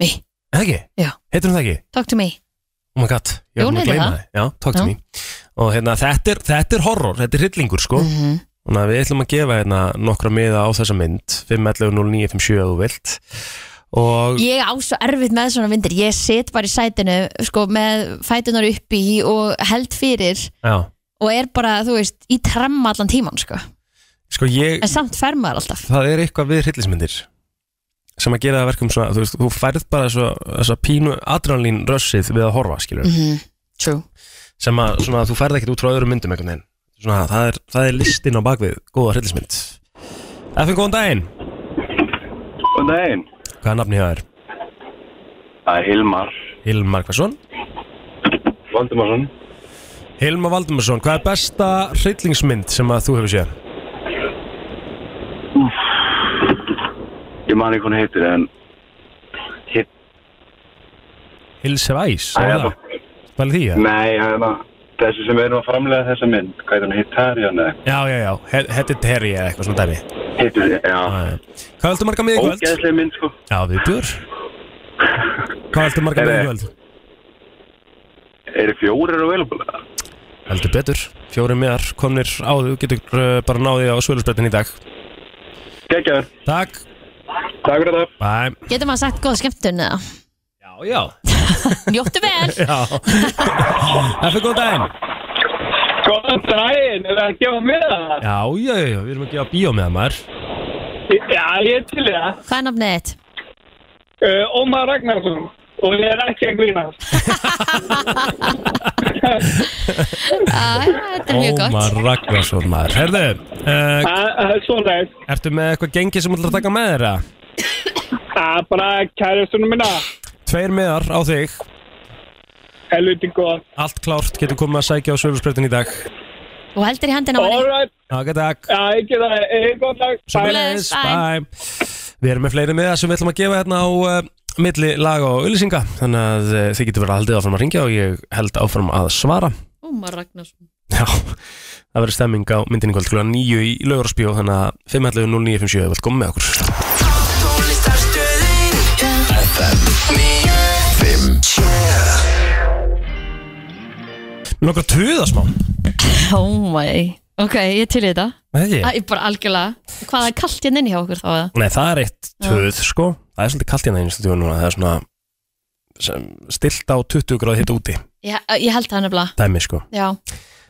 Me.
Er það Ekki?
Já.
Heitir hún það ekki?
Talk to me
Oh my god, ég
Jú,
var búin að
hún heitir
gleyma
það.
það Já, talk to
Já.
me Og hérna, þetta er, þetta er horror, þetta er hryllingur sko
mm -hmm.
Þannig að við ætlum að gefa hérna nokkra miða á þessa mynd 5.11.09.57 að þú vilt og
Ég á svo erfitt með svona vindir Ég sit bara í sætinu sko, með fætunar uppi og held fyrir
já,
og er bara, þú veist, í tremma allan tíman sko.
sko ég
en samt fer maður alltaf
það er eitthvað við hryllismyndir sem að gera það verkum svona, þú veist, þú færð bara þessa, þessa pínu adrenalín rössið við að horfa, skilur,
-hmm. True
sem að svona, þú færð ekkert út frá öðrum myndum einhvern veginn svona, það er, það er listin á bakvið, góða hryllismynd Efinn, góðan daginn
Góðan daginn.
Hvað er nafni hjá þér?
Það er Hilmar.
Hilmar Hversson
Valdimarsson.
Hilmar Valdimarsson, hvað er besta hryllingsmynd sem að þú hefur séð?
Ég man ekki hún heitir en... Hitt...
Hills Have Eyes, er það? Hvað er því, ja?
Nei, hérna... Þessi sem við erum að framlega þessa mynd, hvað er hún Hittarian eða
Já, já, já, He- Hereditary eða eitthvað svona dæmi
heitir þið, já.
Já, já. Hvað heldur marga miðið kvöld?
Ógeðslega mynd sko.
Já, við björ Hvað heldur marga
Nei,
miðið
nei.
kvöld?
Eru fjórir og velbúlega?
Heldur betur, fjóri miðar komnir á þau, getur uh, bara náðið á svölusbrettin í dag
Gekkjaður.
Takk,
Takk fyrir það.
bæ
Getur maður sagt góða skemmtun eða?
Já, já
[laughs] Njóttu vel
Já Eftir [laughs] góðan daginn
Góðan daginn, er það að gefa með það?
Já, já, já, já, við erum að gefa bíó með það maður
Já, ég er til í það.
Hvað er nafnið þitt?
Uh, Ómar Ragnarsson og ég er ekki að grínast.
Ah, Þetta er mjög gott
Ómar Ragnarsson maður Herðu, uh,
Það það er svona þess.
ertu með eitthvað gengi sem þú ætlar að taka með þér? eða?
Það er bara kærastunum minna.
Tveir miðar á þig,
Helviti gott.
allt klárt, getur komið að sækja á svölusbrettin í dag
Þú heldur í handina á henni
Alright,
Já, ok, takk
já, ég geta það. Eða góðan dag.
Sömuleiðis, bæ Við erum með fleiri miða sem við ætlum að gefa hérna á uh, milli laga og auðlýsinga þannig að uh, þið getur verið að haldið áfram að ringja og ég held áfram að svara
Ómar Ragnarsson
Já, það verður stemming á myndinni kvöld klugan 9 í laugurspjó þannig að 5.09.57 vil koma með okkur
Tónlistarstöðin FM 957
Nókra tuða smá
[laughs] Oh my Ok, ég er til í þetta
Nei,
Æ, bara algjörlega Hvað er kallt hérna inni hjá okkur þá eða?
Nei, það er eitt tuð sko Það er svolítið kalt hérna í stúdíu núna það er svona sem, stilt á 20 gráð hitt úti
Já, ég held það nefnilega
dæmi sko
Já,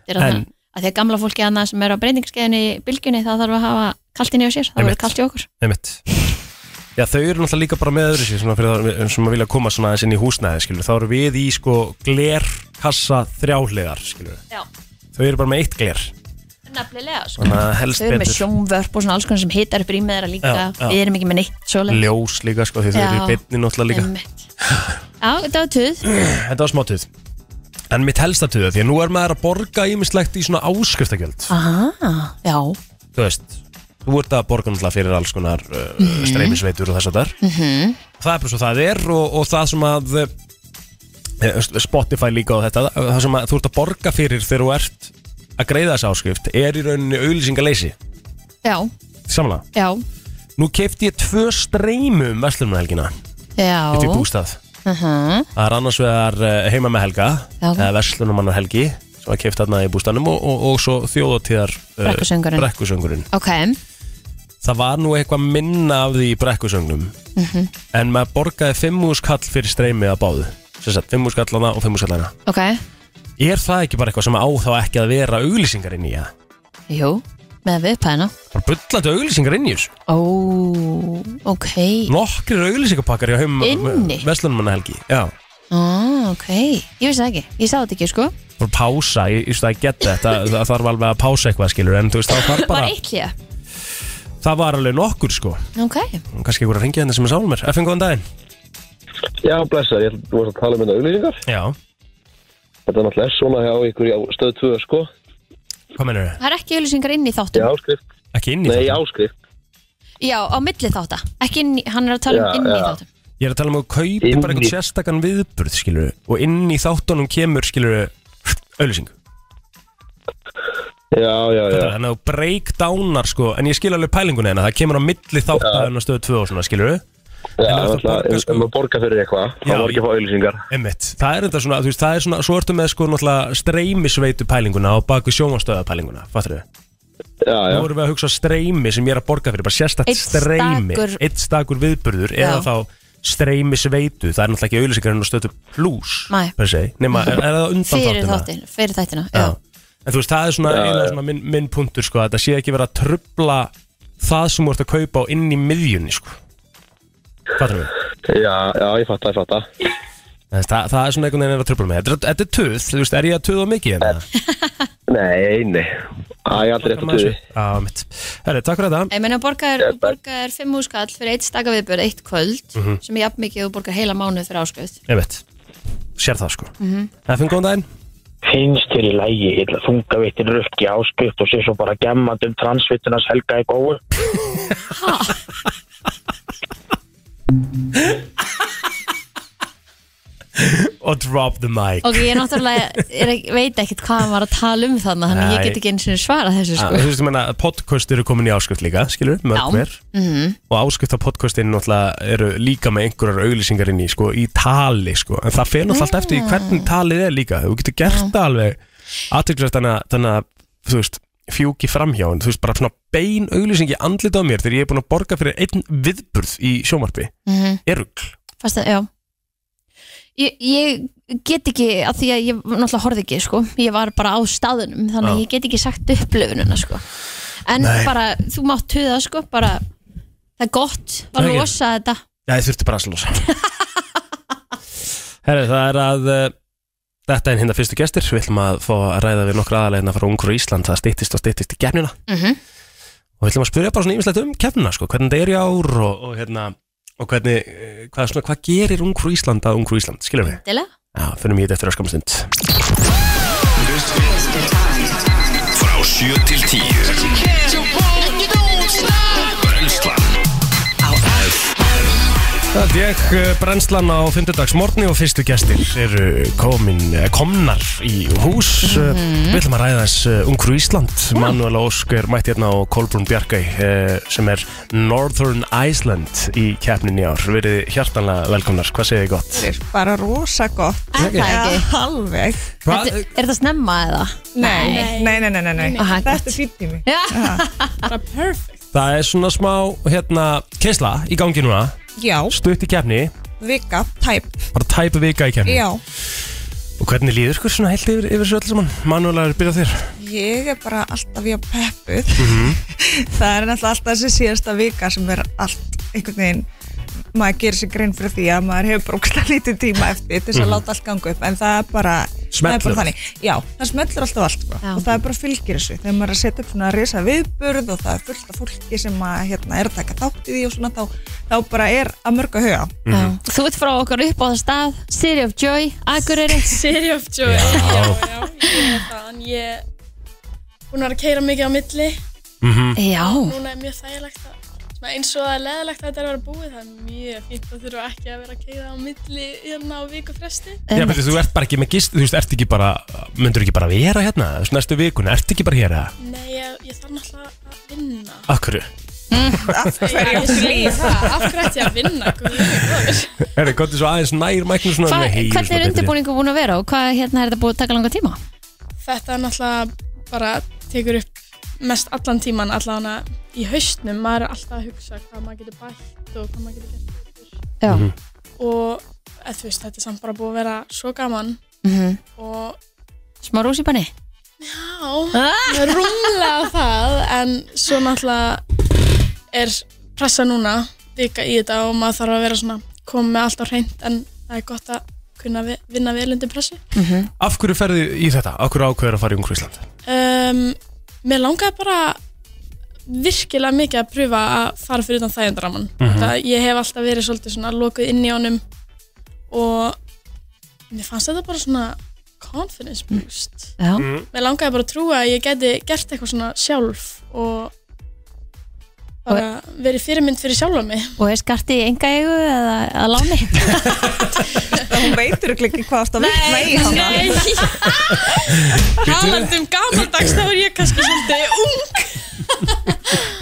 þetta er
En-
það að því að gamla fólki hana sem er á breytingskeiðinu í bylgjunni það þarf að hafa kallt inni á sér, það
Einmitt.
verður kallt í okkur
Einmitt. Já, þau eru náttúrulega líka bara með öðru sér svona fyrir það sem að vilja koma svona aðeins inn í húsnæði skilur. þá eru við í sko glerkassa þrjáhliðar skilur.
Já,
þau eru bara með eitt gler
nefnilega sko.
þannig að helst
Þau eru með
betur
sjónvörp og svona alls konar sem hitar upp rýmið þeirra líka
Já, já.
Við erum ekki með neitt svoleið
ljós líka sko því þau eru í beinni náttúrulega líka
Já, þetta var tuð
[clears throat] Þetta var smátuð En mitt helsta tuða því að nú er maður að borga ímislegt í svona áskriftagjöld
ah, Já,
Þú veist, þú ert að borga náttúrulega fyrir alls konar uh, streymisveitur og þess að þar
Mhm.
Það er bara svo það er og, og það sem að eh, Spotify líka og þetta það sem að þú ert að borga fyrir þegar þú ert að greiða þessa áskrift er í rauninni auðlýsingaleysi
já,
Samlega,
já,
nú kefti ég tvö um streymum Vestlumnahelgina
já
Þetta er bústað
uh -huh.
Það er annars vegar eh, heima með Helga
Já.
eða Vestlunumannar Helgi sem var keift þarna í bústanum og, og, og svo þjóðatíðar eh,
Brekkusöngurinn.
brekkusöngurinn.
Ok,
Það var nú eitthvað minna af því í brekkusöngnum
Mhm.
en maður borgaði 5.000 kall fyrir streymið að báðu sem sagt 5.000 kallana og 5.000 kallana
ok,
Er það ekki bara eitthvað sem á þá ekki að vera auglýsingar inn í það?
jú, með viðpæðina
Bara bullandi auglýsingar inn í þessu
Ó, ok
Nokkrir auglýsingapakkar hjá
Inni?
heim Vestlunumannar Helgi Já
ah, Ok, ég vissi það ekki, ég sá þetta ekki sko
bara pása, ég, ég, ég get þetta það þarf alveg að pása eitthvað skilur en þú veist, það þarf
Var
bara,
eitt hlýja,
það var alveg nokkur sko
ok
kannski ykkur að ringja þetta sem er sálum mér FN, góðan daginn
Já, blessa, ég ætla- þú varst að tala um þetta auðlýsingar.
Já
Þetta er náttúrulega svona hjá ykkur í á- stöð 2, sko.
Hvað mennur þau?
Það er ekki auðlýsingar inn í
Í
þáttum
áskrift.
Ekki inn í
Nei, í
þáttum?
áskrift.
Já, á milli þátta, ekki inn í, hann er að tala
Já,
um inn í
já.
þáttum
Ég er að tala um að þú kaupir
Inn
bara
í-
einhvern sérstakann viðburð skilur og inn í þáttunum kemur skilur auðlýsing
Já, já, já.
Þetta er þannig að þú breakdownar sko en ég skil alveg pælingunni hérna það kemur á milli þáttaðun og stöðu 2 og svona skilur
Já,
En ef þú
náttúrulega,
borgar,
ef-
sko-
ef maður borgar fyrir eitthvað, þá
Já,
var ekki að fá auðlýsingar.
Einmitt. Það er þetta svona, þú veist, það er svona, svo ertu með sko náttúrulega streymisveitu pælinguna og baku sjómanstöða pælinguna, fattur þau?
Já, já.
Nú vorum við að hugsa streymi sem ég er að borga fyrir, bara sérstakt
Einn
streymi,
stakur-
eitt stakur viðburður
Já.
eða þá streymisveitu, það er náttúrulega ekki auðlýsingar en að stötu plus,
Nei.
per se,
[laughs]
nema er, er það undan
Fyrir
þáttina?
þáttin, fyrir þættina
Já.
já.
En þú veist, það er svona,
Já,
eiginlega
já.
svona minn, minn punktur sko, að þetta sé ekki vera að trubla það sem þú ert að kaupa á inn í miðjunni sko. Fattum við?
Já, já, ég fatta, ég fatta.
Það, það, það er svona einhvern veginn að trubla mig. Þetta, er- þetta er töð, þú veist, er ég að töða mikið hérna? en það?
[laughs] Nei, nei. Æ, ég aldrei rétt að tuði.
Já, mitt. Herri, takk fyrir þetta.
Ég meina borgar,
Ég bara-
borgar fimm húskall fyrir eitt staka viðbjörð, eitt kvöld
Mhm.
sem ég jafnmikið og borgar heila mánuð fyrir áskrift
Ég veit, sér það sko. Mm
Mhm.
-hmm. góðan daginn.
finnst til í lægi illa þungavittin rökk í áskrift og sé svo bara gemmand um transvittunars helga í góðu
[laughs]
Og drop the mic.
Ok, ég náttúrulega er, ekki- veit ekkert hvað hann var að tala um þannig þannig að ég
Nei.
get ekki eins og svara þessu
Já,
sko
Ah, Þú veist, ég meina, podcast eru komin í áskrift líka, skilur, mörg
Já. Mhm,
hver og áskrift á podcastinu náttúrulega eru líka með einhverjar auglýsingar inn í, sko, í tali, sko, en það fer náttúrulega alltaf eftir
Ah.
í hvernig talið er líka, þú getur gert það alveg aðtökvært þannig að, þannig að, þú veist, fjúki framhjá, en þú veist, bara svona bein auglýsingi andlit á mér þegar ég er búin að borga fyrir einn viðburð í sjómarpi,
mm -hmm.
erugl,
Fast að, já ég, ég get ekki, að því að ég náttúrulega horfði ekki sko, ég var bara á staðunum þannig að
Já.
ég get ekki sagt upplifununa sko En
Ah. Nei.
bara, þú mátt tuða sko, bara það er gott að
Það er-
losa þetta
Já, ég þurfti bara að slósa [laughs] Herri, það er að uh, Þetta er hérna fyrstu gestir Við ætlum að fá að ræða við nokkra aðalegina frá Ungur í Ísland, það styttist og styttist í gefnina
mm
og við ætlum að spyrja bara svona ýmislegt um kefnina sko, hvernig það er í ár og, og hérna og hvernig, eh, hvað, svona, hvað gerir Ungur í Ísland að Ungur í Ísland, skilum við?
Dilega?
Já, finnum ég þetta eftir að skamstund
Frá 7 til 10 Brenslan
Það er ég eh, brennslan á fimmtudagsmorgni og fyrstu gestir eru komin, eh, komnar í hús. Mm Við ætlum að ræða þess eh, Ungfrú Ísland. Manuela Ósk er mætt hérna á Kolbrún Bjarkæ eh, sem er Northern Iceland í keppnin í ár. Verið hjartanlega velkomnar, hvað segir þið gott?
bara rosa gott
Er það ekki?
alveg
Hvað?
Er, er það snemma eða?
nei, nei, nei, nei, nei, nei.
Aha,
þetta
gott.
er fýtt tími
Já,
Það er svona smá hérna keisla í gangi núna,
já,
stutt í keppni,
vika, tæp,
bara tæpa vika í keppni.
já
Og hvernig líður ykkur svona heilt yfir, yfir svo öll saman? Manuela er að byrja á þér.
ég er bara alltaf ég
Mhm.
[laughs] peppuð það er náttúrulega alltaf þessi síðasta vika sem er allt einhvern veginn maður gerir sér grein fyrir því að maður hefur brókslega lítið tíma eftir til þess að
Mhm.
láta allt ganga upp en það er bara, það er
Smellur
bara
allt.
þannig já, það smellur alltaf allt sko. og það er bara fylgir þessu þegar maður er að setja upp svona risa viðburð og það er fullt af fólki sem að, hérna, er að taka þátt í því og svona þá, þá bara er að mörga huga
Mm.
Mhm.
Já. Þú ert frá okkar upp á það stað City of Joy, Akureyri
City of Joy, já, já, ég er þaðan Ég hún var að keira mikið á milli
Mhm. Já.
Núna er mjög þægilegt að svona eins og það er leðilegt að þetta er að vera búið það er mjög fínt að þurfa ekki að vera að keira á milli hérna á viku fresti
Já, betur, þú ert bara ekki með gist, þú veist, ert ekki bara, myndur ekki bara vera hérna, þú veist, næstu vikuna, ert ekki bara hér eða?
Nei, ég, ég þarf náttúrulega að vinna
Akkur?
Mm,
[laughs] Af
hverju
Ég segi það, af hverju ætti ég að vinna guð minn góður?
Er það gott svo aðeins nær mæknu svona? sko,
Hva,
nei, hey,
Hvernig
svona
er
betri.
undirbúningu búin að vera og hvað hérna er þetta búið að taka langa tíma?
Þetta er náttúrulega bara tekur upp mest allan tíman allavega í haustnum, maður er alltaf að hugsa hvað maður getur bætt og hvað maður getur gert
Já.
betur. og eða, þú veist, þetta er samt bara búið að vera svo gaman
Mhm.
og
Smá rúsibanni?
já, ah! rúmlega það en svo náttúrulega er pressa núna vika í þetta og maður þarf að vera svona koma með allt á hreint en það er gott að kunna vi- vinna vel undir pressu
Af hverju ferði í þetta? Af hverju ákveður að fara í Ungur
[laughs]
Ísland?
um, Mér langaði bara virkilega mikið að pröfa að fara fyrir utan þægindaraman mm
Mhm.
Ég hef alltaf verið svolítið svona lokuð inn í honum og mér fannst þetta bara svona confidence boost
[laughs] Já.
Mhm.
Mér langaði bara að trúa að ég geti gert eitthvað svona sjálf og bara verið fyrirmynd fyrir sjálfa mig
Og er skarti í enga eigu eða að láni?
hún veitur ekki hvað átt að vitna í hana
[laughs]
Talandum gamaldags þá er ég kannski svolítið ung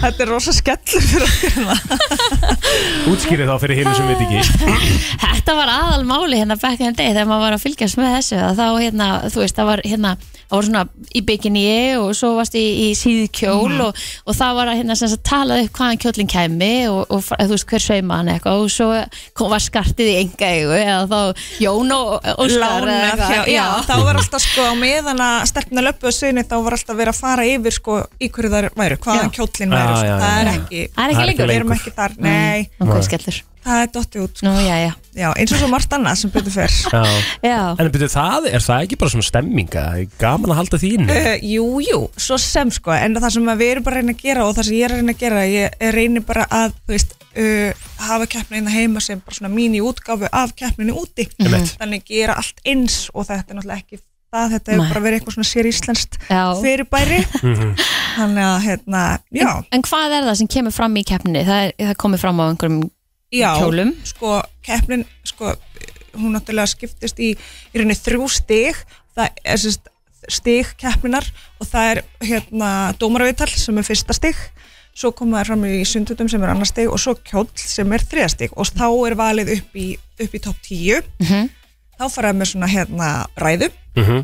þetta er rosa skellur fyrir okkur hérna.
Útskýri þá fyrir hinn sem veit
[laughs]
ekki.
Þetta var aðal máli hérna back in the day þegar maður var að fylgjast með þessu að þá hérna, þú veist, það var hérna það var svona í bikini og svo varst í, í síðkjól
Mhm.
og, og það var að hérna sem sagt talað upp hvaðan kjólinn kæmi og, og fra- þú veist hver sveima hann eitthvað og svo kom var skartið í enga eigu eða þá Jón og Óskar
Lána,
eða eitthvað,
já, já, þá var alltaf sko á meðan að stelpna löpu og sinni þá var alltaf verið að fara yfir sko í hverju það væru, hvaðan kjólinn
Já,
væru sko.
já, já,
það er
já.
ekki,
Það er ekki Það er lengur. ekki
við erum
lengur.
ekki þar, nei
Mm, ok, skellur.
það er dottið út sko.
Nú, já, já.
já, eins og svo margt annað sem betur fer
Já.
Já.
En betur það, er það ekki bara svona stemminga? Gaman að halda því inn?
Eh,
Uh, jú, jú, svo sem sko en það sem að við erum bara að reyna að gera og það sem ég er að reyna að gera ég reynir bara að þú veist, uh, hafa keppnina hérna heima sem bara svona mín í útgáfu af keppninu úti
Einmitt.
þannig gera allt eins og þetta er náttúrulega ekki það, þetta hefur
Nei.
bara verið eitthvað svona sér íslenskt
Já.
fyrirbæri
mhm.
þannig að hérna, já
En, en hvað er það sem kemur fram í keppni? Það, er, það komið fram á einhverjum
Já,
kjólum
sko, keppnin, sko, hún náttúrulega skiptist í, í rauninni þrjú stig, það er sérst stig keppninar og það er hérna dómaraviðtal sem er fyrsta stig, svo koma það fram í sundutum sem er annar stig og svo kjóll sem er þriða stig og þá er valið upp í, upp í topp 10,
Mhm.
þá faraði með svona hérna ræðu
Mhm.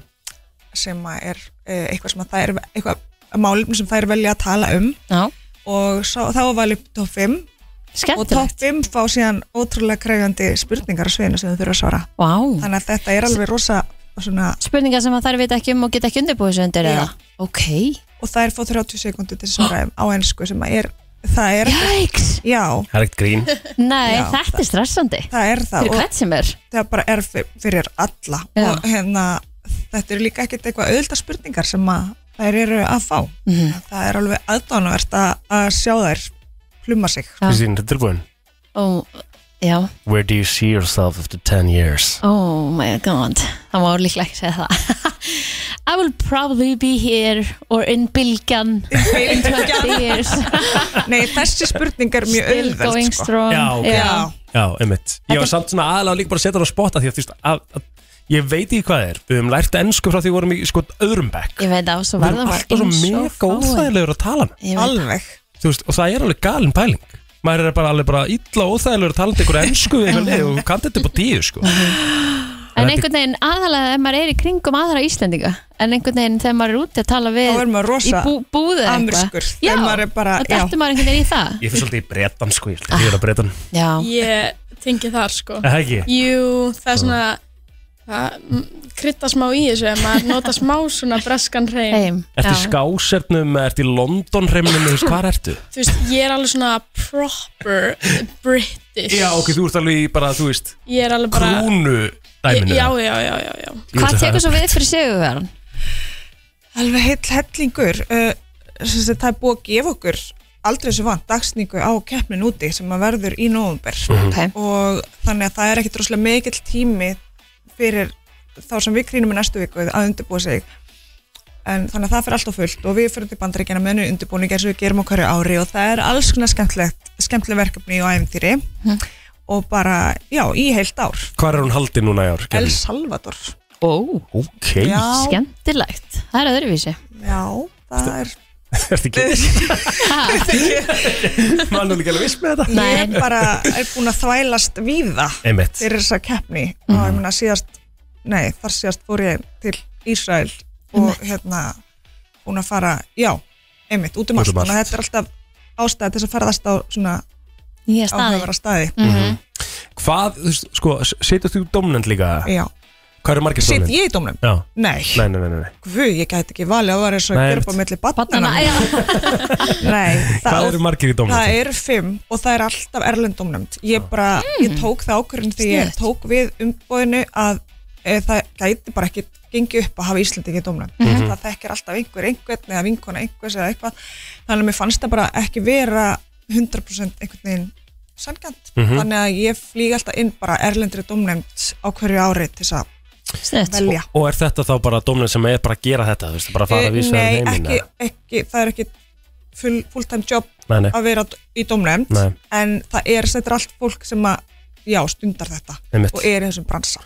sem að er eh, eitthvað sem að það er eitthvað málum sem þær velja að tala um
Já.
og sá, þá var valið upp top 5
Skemmtilegt.
og top 5 fá síðan ótrúlega krefjandi spurningar á sviðinu sem þau þurfa að svara
wow.
þannig að þetta er alveg rosa svona,
Spurningar sem að þær veit ekki um og geta ekki undirbúið þessu undir eða? Ok.
og þær fá 30 sekundu til að svara þeim á ennsku sem að er það er
Jæks.
já
Það er ekkert grín.
Nei, þetta er stressandi
það er það
Fyrir
og
hvern sem er
það bara er fyr- fyrir alla
Já.
og hérna þetta eru líka ekkert eitthvað auðvitað spurningar sem að þær eru að fá
Mhm.
það er alveg aðdánavert að, að sjá þær pluma sig
Kristín, þetta er búinn.
Ó, já,
Where do you see yourself after 10 years?
oh my god Það má líklega ekki segja það [laughs] I will probably be here or in Bilgan in 20 years
[laughs] Nei, þessi spurning er mjög
Still
auðveld
going
sko.
strong.
Já, ok. Já, einmitt. Ég var samt svona aðalega líka bara að setja það á spotta því að, þú veist, að, að ég veit ekki hvað er. Við höfum lært ennsku frá því við vorum í sko öðrum bekk.
Ég veit að svo
Við erum
verða maður
alltaf svo
eins og
mega
fáin.
óþægilegur að tala með
Ég veit.
Alveg
Þú veist, og það er alveg galin pæling Maður er bara alveg bara illa óþægilegur að tala um einhverja ennsku við einhverja leið og kann þetta upp á tíu sko
En einhvern veginn aðalega ef maður er í kringum aðra Íslendinga en einhvern veginn þegar maður er úti að tala við
Þá er maður rosa
í bú, búðu eða
amerískur,
eitthvað.
þegar maður er bara-
Já, og dættu maður einhvern veginn í það
Ég fyrir svolítið í bretan sko, ég fyrir að bretan
Já
Ég tengi þar sko
Er það ekki?
Jú, það er svona það krytta smá í þessu en maður nota smá svona breskan reym
Reim,
Ertu í skásernum, ertu í London-reimnum, þú veist, hvað ertu?
Þú veist, ég er alveg svona proper British
Já, ok, þú ert alveg í bara, þú veist,
Ég er alveg bara
krúnu dæminu
Já, já, já, já, já.
Ég veit að það-
við fyrir sigurverðan?
Alveg heill hellingur uh, sem sagt, það er búið að gefa okkur aldrei svo vant dagsningu á keppnin úti sem að verður í nóvumber
Mhm. Ok.
og þannig að það er ekkit droslega mikill tími fyrir þá sem við krýnum í næstu viku að undirbúa sig en þannig að það fyrir allt á fullt og við fyrir til bandaríkjana með hennu undirbúning eins og við gerum á hverju ári og það er alls konar skemmtilegt skemmtileg verkefni og æfintýri
Mhm.
og bara, já, í heilt ár
Hvar er hún haldið núna í ár? Gerður?
El Salvador
Ó,
Ok
Já.
skemmtilegt Það er öðruvísi
Já, það er
Ertu
[laughs]
ekki Mann er ekki alveg viss með þetta
Ég er bara er búin að þvælast víða
Einmitt.
fyrir þessa keppni og ég meina síðast, nei þar síðast fór ég til Ísrael og hérna búin að fara, já, einmitt, út um
Út
allt
um
þannig að
allt.
þetta er alltaf ástæði til þess að ferðast á svona
nýja
staði, staði.
Mhm. Hvað, þú veist, sko, setur þú domnend líka?
Já.
Hvað eru margir
Sit
domnend?
ég í dómnefnd?
Já
Nei.
Nei, nei, nei, nei.
Guð, ég gæti ekki valið að það var eins og
Nei,
að gera upp á
einmitt.
milli batnana [laughs] Nei,
Hvað eru margir í dómnefnd?
Það eru fimm og það er alltaf erlend dómnefnd Ég bara, ég tók það ákvörðin því ég
Sniðugt.
tók við umbóðinu að e, það gæti bara ekki gengið upp að hafa Íslandi ekki dómnefnd
Mhm.
Það þekkir alltaf einhver einhvern eða vinkona einhvers eða eitthvað Þannig að mér fannst það bara ekki vera 100% einhvern veginn sangjönd
Mhm.
Þannig að ég flýg alltaf inn bara erlendri dómnefnd á hverju ári til þess að velja
Sko, Og er þetta þá bara domnend sem er bara að gera þetta, þú veist, bara að fara
Eh,
að vísa
Nei,
um heiminn,
ekki,
eða?
ekki, það er ekki full, full time job
Nei, nei.
að vera d- í domnefnd
Nei.
en það er, þetta er allt fólk sem að, já, stundar þetta
Einmitt.
og er í þessum bransa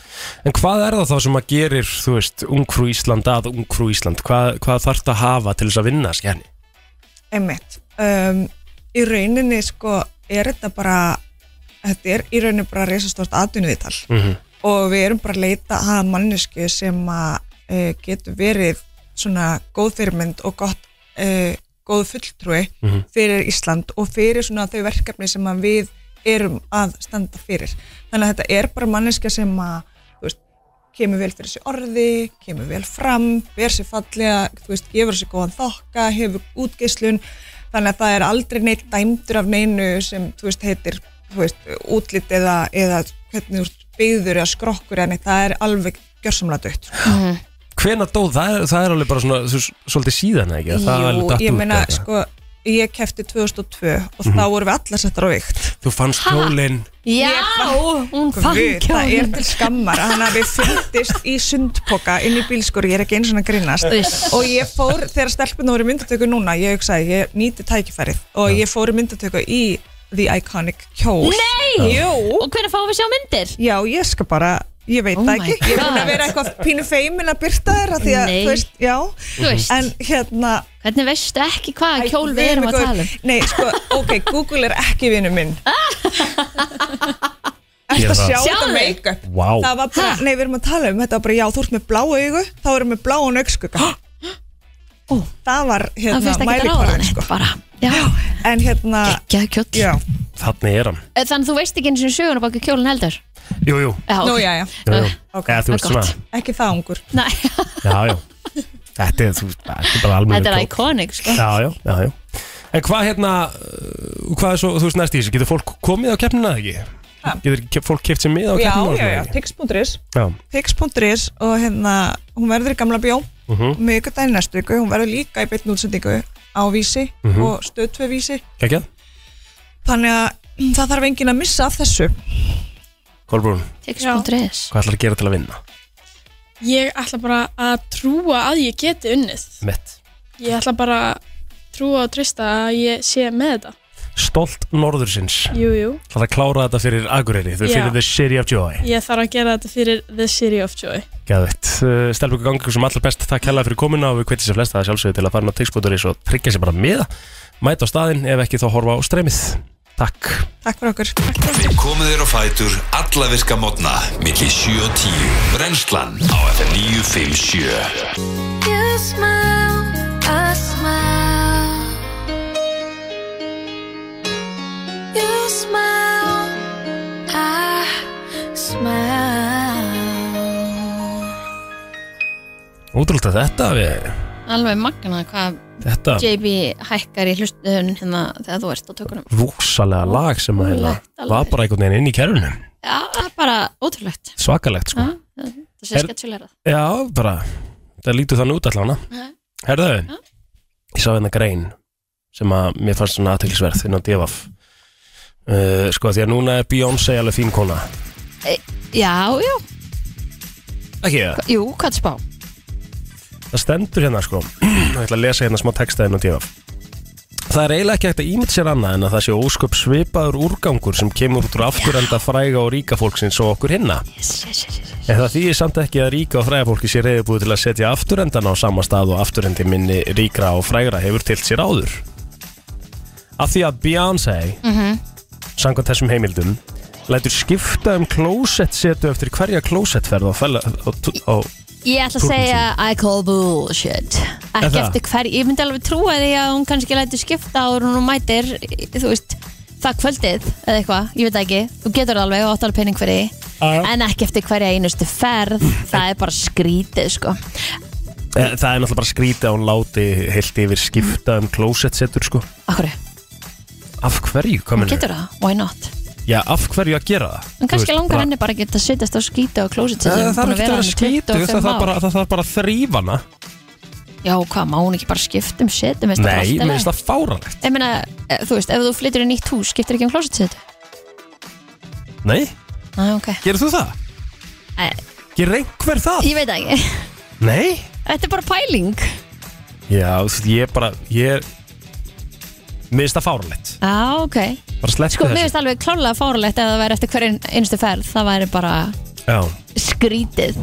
En hvað er það þá sem að gerir, þú veist, Ungfrú Ísland að Ungfrú Ísland? Hvað, hvað þarf það að hafa til þess að vinna, skjæni?
einmitt um, í rauninni sko er þetta bara þetta er í rauninni bara reisastort atvinnuviðtal
Mhm.
og við erum bara að leita að mannesku sem að e, getur verið svona góð fyrirmynd og gott e, góð fulltrúi
Mhm.
fyrir Ísland og fyrir svona þau verkefni sem að við erum að standa fyrir þannig að þetta er bara manneska sem að þú veist, kemur vel fyrir sér orði, kemur vel fram, ver sér fallega, þú veist, gefur sér góðan þokka, hefur útgeislun, þannig að það er aldrei neitt dæmdur af neinu sem, þú veist, heitir, þú veist, útlit eða, eða hvernig þú ert byggður eða skrokkur en það er alveg gjörsamlega dött. sko.
Mhm.
Hvena dó, það er, það er alveg bara svona, þú veist, svolítið síðan, ekki? Það er alveg datt
ég
út
meina,
þetta.
sko, ég kefti 2002 og
Mhm.
þá vorum við allar settar á vikt.
Þú fannst kjólinn
Já, hún fann
Guð, það er
kjólinn
til skammar að hann hafi fundist í sundpoka inn í bílskur, ég er ekki eins og hann að grínast
Uss.
og ég fór, þegar stelpunna voru í myndatöku núna, ég hugsaði, ég nýti tækifærið og ég fór í myndatöku í The Iconic Kjól
Nei,
Jú,
og hvernig fáum við sjá myndir?
já, ég skal bara ég veit
Oh
það
my
ekki, ég er búin
God.
að vera eitthvað pínu feimin að byrta þér að því að,
Nei.
þú veist, já
Þú veist.
en hérna
Hvernig veistu ekki hvaða kjól við erum að
eitthvað-
tala um? Ah.
Nei, sko, ok, Google er ekki vinnu minn
Ég
Ertu
er
að
það.
sjá þetta
Sjáðu.
make-up
Vá.
Það var bara, nei, við erum að tala um þetta var bara, já, þú ert með blá augu, þá erum við blá og nöggskuga Það var,
Ah. Það
hérna,
finnst ekki að ráða
mælikvarðin,
neitt
sko
bara Já,
en hérna
Gekkjaður kjóll
Já
Þannig er hann
Eh, Þannig þú veist ekki eins og söguna baki kjólinn heldur
Jú, jú,
Já, ok.
Nú, já, já,
jú, jú.
Ok,
Eða, þú veist
það er gott.
svona
Ekki það ungur
Nei,
Já, já Þetta er, þú, þetta er bara almennu
þetta er iconic sko.
Já, já, já, já En hvað hérna, uh, hvað er svo, þú veist næst í þessu, getur fólk komið á keppnina eða ekki? Getur ke- fólk keft sem miða á
Já,
keppnina?
já, já, tix.is
já
tix.is og hérna, hún verður í gamla bjó
Mhm.
mjög dæni næstu ykkur, hún verður líka í beittn útsendingu á vísi
Mhm.
og stöð 2 vísi
Kækjað,
þannig að mm, það þarf enginn að missa af þessu
Kolbrún,
Tix.is.
hvað ætlar að gera til að vinna?
Ég ætla bara að trúa að ég geti unnið
Mitt
Ég ætla bara að trúa og trista að ég sé með þetta
Stolt norðursins
Jú, jú,
Það að klára þetta fyrir Akureyri, þau
Já.
fyrir The City of Joy
ég þarf að gera þetta fyrir The City of Joy
Gæðvett, uh, stelpum ykkur gangi sem allar best Takk hella fyrir komuna og við kveitum sér flesta að sjálfsögðu til að fara inn á tix.is og tryggja sér bara miða Mæta á staðinn, ef ekki þá horfa á streymið Takk
Takk fyrir okkur
Við komum þér á fætur alla virka mótna milli 7 og 10 Brennslan á FM 957
You smile, I smile. You smile, I smile.
Útrúlega þetta við
Alveg magna hvað
Þetta-
JB hækkar í hlustun hérna þegar þú ert á tökunum
Vúksalega lag sem að hérna
Ótrúlegt,
Var bara einhvern veginn inn í kerfinu
Já, það er bara ótrúlegt
Svakalegt sko
Já, Það sé
Er-
sketsjulegra
Já, bara Það lítur þannig út allavega
Mhm.
Herðu, ég sá hérna grein sem að mér fannst svona aðtækisverð inn á Devaf uh, Sko því að núna er Beyoncé alveg fín kona
e, Já, já,
Ekki það?
jú, hvað spá
Það stendur hérna sko [clears throat] Ég ætla að lesa hérna smá texta inn á tífa Það er eiginlega ekki hægt að ímynd sér annað en að það sé ósköp svipaður úrgangur sem kemur út úr afturenda fræga og ríka fólksins og okkur hinna
yes, yes, yes, yes.
En það þýðir samt ekki að ríka og fræga fólki sé reyðbúið til að setja afturendan á sama stað og afturendi minni ríkra og frægra hefur tilt sér áður Af því að Beyoncé
Mm-hmm.
Mhm.
samkvæmt þessum heimildum lætur skipta um klósett setu eftir hverja klósettferð og, fæla, og, og
Ég ætla að
Túrnum
segja I call bullshit
Er
Ekki
það?
eftir hver, ég myndi alveg trúa því að hún kannski lætur skipta og hún mætir í- þú veist, það kvöldið eða eitthvað, ég veit það ekki, þú getur það alveg og átt alveg pening fyrir því
Ah, já. Mm,
en ekki eftir hverja einustu ferð það er bara skrítið sko
Eh, Það er náttúrulega bara skrítið að hún láti heilt yfir skipta um klósettsetur sko
Akkur,
Af hverju? Hvað
hún
meinarðu?
getur það, why not
Já, af hverju að gera það?
en kannski langar henni bara að geta að sittast á skýta og klósit
Það þarf ekki að vera skrítu Það þarf bara, það þarf bara að þrýfa hana
Já, hvað, má hún ekki bara skipta um setum veist, það er
Nei,
allt í
mér
lagi.
finnst það fáralegt
Ég meina, eh, þú veist, ef þú flyttur í nýtt hús, skiptir ekki um klósit
Nei,
Næ, ok
gerir þú það?
Æ,
Gerir einhver það?
Ég veit það ekki
Nei?
Þetta er bara pæling
Já, þú veist, ég bara, ég Mér finnst það fáralegt
Já, ok
Bara sleppti
Sko, mér
þessu
finnst alveg klálega fárlegt ef það væri eftir hverjum einstu ferð Það væri bara
Já,
skrítið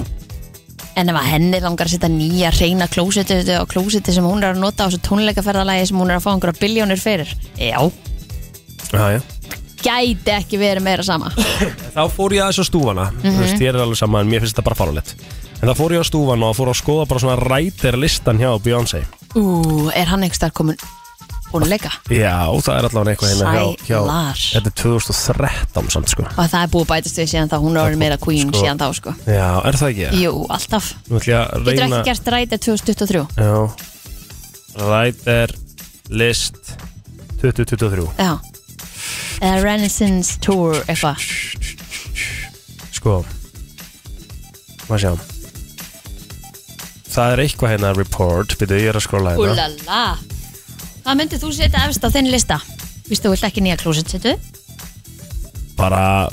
En ef að henni langar að setja nýja reyna klósetu á klósetu sem hún er að nota á þessu tónleikaferðalagi sem hún er að fá einhverja biljónir fyrir Já
já, já
Gæti ekki verið meira sama
þá fór ég aðeins á stúfana
Mhm.
þú veist, ég er alveg saman, mér finnst þetta bara farulegt en þá fór ég á stúfana og fór að skoða bara svona rætir listan hjá Beyoncé
Ú, er hann einhvers þar komin búin að leika?
já, það er allavega eitthvað hérna hjá, hjá
Sælar.
þetta er 2013 samt sko
Og það er búið að bætast við síðan þá, hún er orðin meira queen
sko.
síðan þá sko
já, er það ekki?
Jú, alltaf
nú ætlum ég að
Getur
reyna
ekki gert rætið 2023
já, rætir list 2023
Já Eða Renaissance Tour eitthvað
sko maður sjá það er eitthvað hérna report byrju, ég er að skrolla hérna
Úlala Hvað myndir þú setja efst á þinn lista? Vistu, þú vilt ekki nýja klósett setu?
bara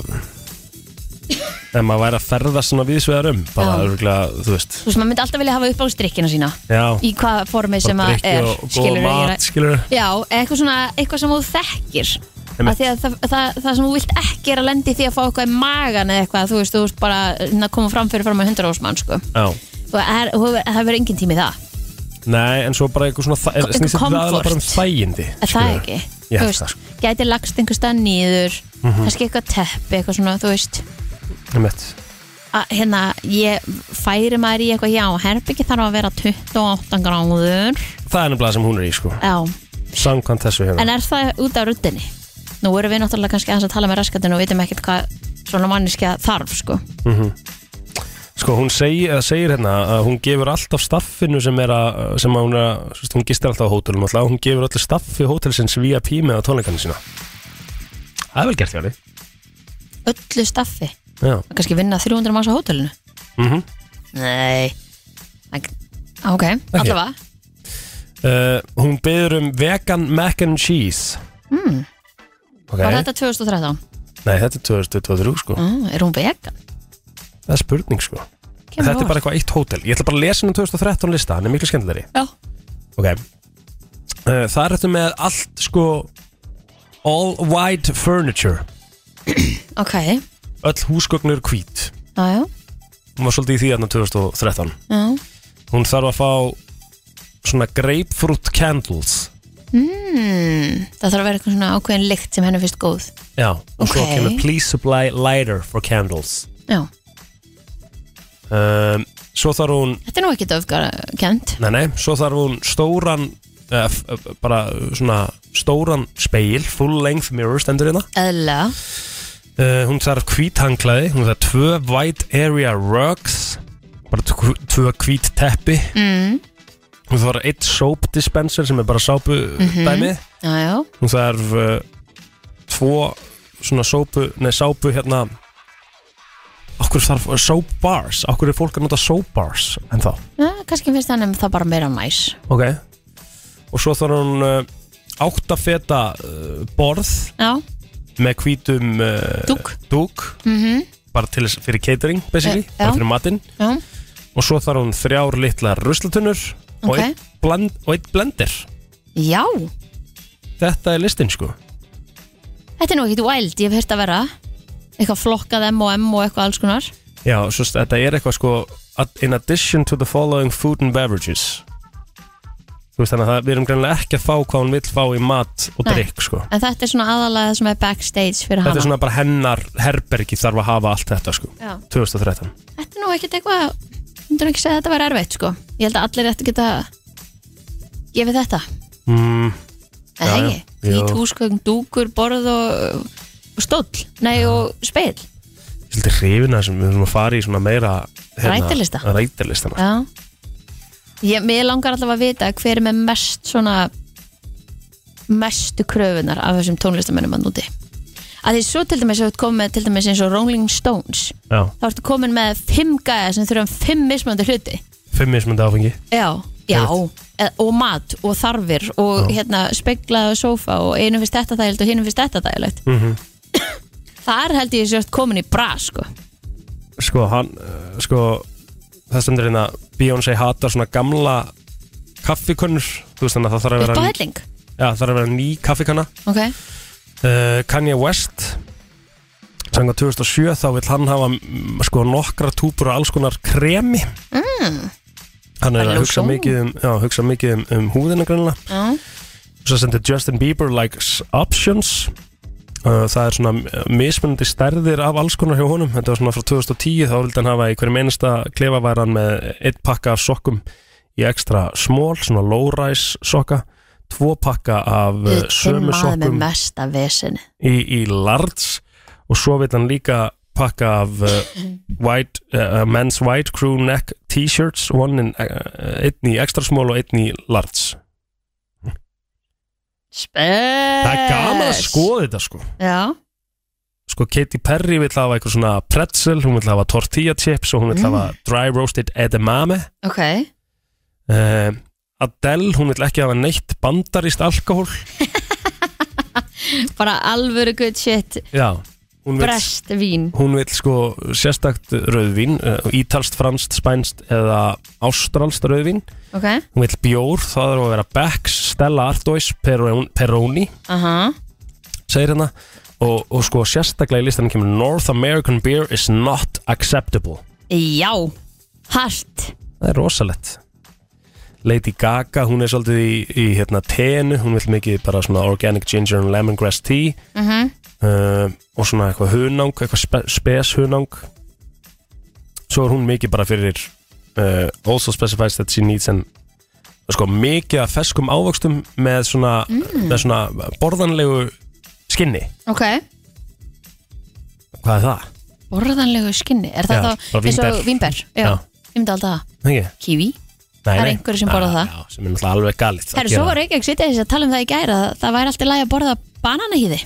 ef maður væri að ferðast svona viðsvegar um bara
Já.
örgulega, þú veist
Þú veist, maður myndi alltaf vilja hafa upp á strikkina sína
já,
Í hvað formi sem
bara
að
drykki
er
og góð
skilurðu, ég er
mat,
að-
skilur
Já, eitthvað svona, eitthvað sem þú þekkir
Einmitt.
Af því að það, það, það sem þú vilt ekki er að lendi því að fá eitthvað í magan eða eitthvað, þú veist, þú veist bara að koma fram fyrir fram að hundra ósmann, sko
já,
Þú er, þú- það verður engin tími í það
nei, en svo bara eitthvað svona þa- er-
Einhver
snýst þetta aðalega
comfort.
bara um þægindi
Er það
skilurðu.
ekki?
Ég
Þú
held
veist,
það, sko,
Gæti lagst einhver stað nýður
Mhm.
kannski eitthvað teppi, eitthvað svona, þú veist
Einmitt.
að, hérna, ég færi maður í eitthvað já, herbyggi þarf að vera 28 gráður
það er nefnilega sem hún er í sko
já,
samkvæmt þessu
en
hérna
er það út af ruddinni? Nú erum við náttúrulega kannski aðeins að tala með raskatinn og vitum ekkert hvað svona manniska þarf, sko
Mhm. sko, hún segir, eða segir hérna að hún gefur alltaf staffinu sem er að sem að hún er að, þú veist, hún gistir alltaf á hótelum alltaf, hún gefur alltaf staffi hótelsins via pímið á tónleikana sína það er vel gert, Jari
öllu staffi,
já,
kannski vinna 300 manns á hótelinu
mhm
Nei Ek- Ok, allavega
Uh, hún byður um vegan mac and cheese
mm.
Ok,
Var þetta 2013?
Nei, þetta er 2023 sko
Mm, er hún vegan?
Það er spurning sko
Kemur
Þetta
á
er bara eitthvað eitt hótel Ég ætla bara að lesa um hennar 2013 lista, hann er miklu skemmtilegri
Já.
Ok uh, Það er þetta með allt sko All white furniture
Ok,
Öll húsgögnur hvít
já, já,
Hún var svolítið í því hérna 2013
já.
Hún þarf að fá Svona grapefruit candles
Mm, það þarf að vera eitthvað svona ákveðin lykt sem henni finnst góð
Já, og svo
Ok.
kemur please supply lighter for candles
Já.
um, Svo þarf hún
Þetta er nú ekki döfgar kent
Nei, nei, svo þarf hún stóran eh, f- eh, bara svona stóran speil, full length mirror stendur hérna
Eðla
uh, hún þarf hvítanglaði, hún þarf tvö white area rugs bara tv- tvö hvít teppi
mm.
Hún þarf eitt soap dispenser sem er bara sápu
mhm.
dæmi
Já, já,
Hún þarf uh, tvo svona sópu, nei sápu hérna Okkur þarf uh, soap bars, okkur er fólk að nota soap bars en þá
já, kannski finnst hann um það bara meira næs
Ok Og svo þarf hún uh, átta feta uh, borð
Já,
með hvítum uh,
Dúk.
Mm-hmm.
Mhm. bara til þess fyrir catering basically,
Eh,
bara
já.
fyrir matinn
já,
og svo þarf hún þrjár litlar ruslatunnur og,
Ok.
eitt bland, og eitt blender
já
Þetta er listin sko
Þetta er nú ekkert wild, ég hef hýrt að vera Eitthvað flokkað M&M og eitthvað alls konar
Já, svo st- þetta er eitthvað sko "Ad- In addition to the following food and beverages Þú veist þannig að það, við erum greinlega ekki að fá hvað hún vill fá í mat og
Nei.
drikk sko
En þetta er svona aðalega það sem er backstage fyrir
Þetta
hana
er svona bara hennar herbergi þarf að hafa allt þetta sko
Já.
2013
Þetta er nú ekkert eitthvað Ég myndi nú ekki segja að þetta var erfitt sko Ég held að allir ættu að geta gefið þetta
mm,
Það
já,
hegi,
já.
hvít húsgögn, dúkur, borð og, og stóll Nei, og speil
Ég er svolítið hrifin að sem við erum að fara í svona meira hérna,
Rætilista.
Rætilista
Já ég, Mér langar allavega að vita hver er með mest svona mestu kröfunar af þessum tónlistamönnum að núti að því svo til dæmis að þú ert komið með til dæmis eins og Rolling Stones
Já,
þá ertu komin með fimm gæða sem þurfum fimm mismöndi hluti
fimm mismundi áfengi
Já, já eð, og mat og þarfir og hérna speklaða sófa og einum finnst þetta þægilegt og hinum finnst þetta þægilegt
mm
Þar held ég sért komin í bra sko
Sko, hann, uh, sko Það stendur hérna Beyoncé hatar svona gamla kaffikunnur Þú veist þannig að það þarf að vera
Uppáhelling,
Já, það þarf að vera ný kaffikanna
ok
uh, Kanye West Sanga 2007 þá vill hann hafa mm, sko nokkra túpur og alls konar kremi
mm,
Hann er
Bara
að hugsa
lotion.
mikið um, já, hugsa mikið um, um húðina grannlega
Já,
Svo sendir Justin Bieber likes options Uh, Það er svona uh, mismunandi stærðir af alls konar hjá honum Þetta var svona frá 2010 þá vildi hann hafa í hverjum einasta klefa var hann með eitt pakka af sokkum í ekstra smól, svona low-rise sokka tvo pakka af uh,
Hinn
sömu
maður með
sokkum
mesta vesin
í, í large og svo vil hann líka pakka af uh, white, uh, men's white crew neck t-shirts one in, uh, einn í ekstra smól og einn í large
Spes
Það er gaman að skoða þetta sko
Já,
sko Katy Perry vill hafa eitthvað svona pretzel, hún vill hafa tortilla chips og hún vill
Mm.
hafa dry roasted edamame
ok
uh, Adele, hún vill ekki hafa neitt bandarist alkohól
Bara alvöru good shit
já, hún vill,
Brest vín
hún vill sko sérstakt rauðvín uh, ítalst, franst, spænst eða ástralst rauðvín
Ok, aha
hún vill bjór, það þarf að vera Becks, Stella Artois, Peroni, Peroni segir hérna og, og sko sérstaklega í listanum kemur North American beer is not acceptable
Já, hart
Það er rosalett Lady Gaga, hún er svolítið í, í hérna tenu, hún vil mikið bara svona organic ginger and lemongrass tea
uh -huh.
uh, og svona eitthvað hunang, eitthvað spe, spes hunang svo er hún mikið bara fyrir uh, also specifies that she needs an sko mikið af feskum ávöxtum með svona,
Mm.
með svona borðanlegu skinni
Ok,
hvað er það?
borðanlegu skinni
Já,
Er það
bara
þá eins og
vínber.
vínber? Já,
Já.
ég myndi alltaf það
Ekki? Nei,
Kiwi Það er einhverju sem borða
Ah,
það.
já, sem er náttúrulega alveg galið að
Herru,
gera
svo var Reykjavík sittis að tala um það í gæra Það væri alltaf lægi að borða bananahýði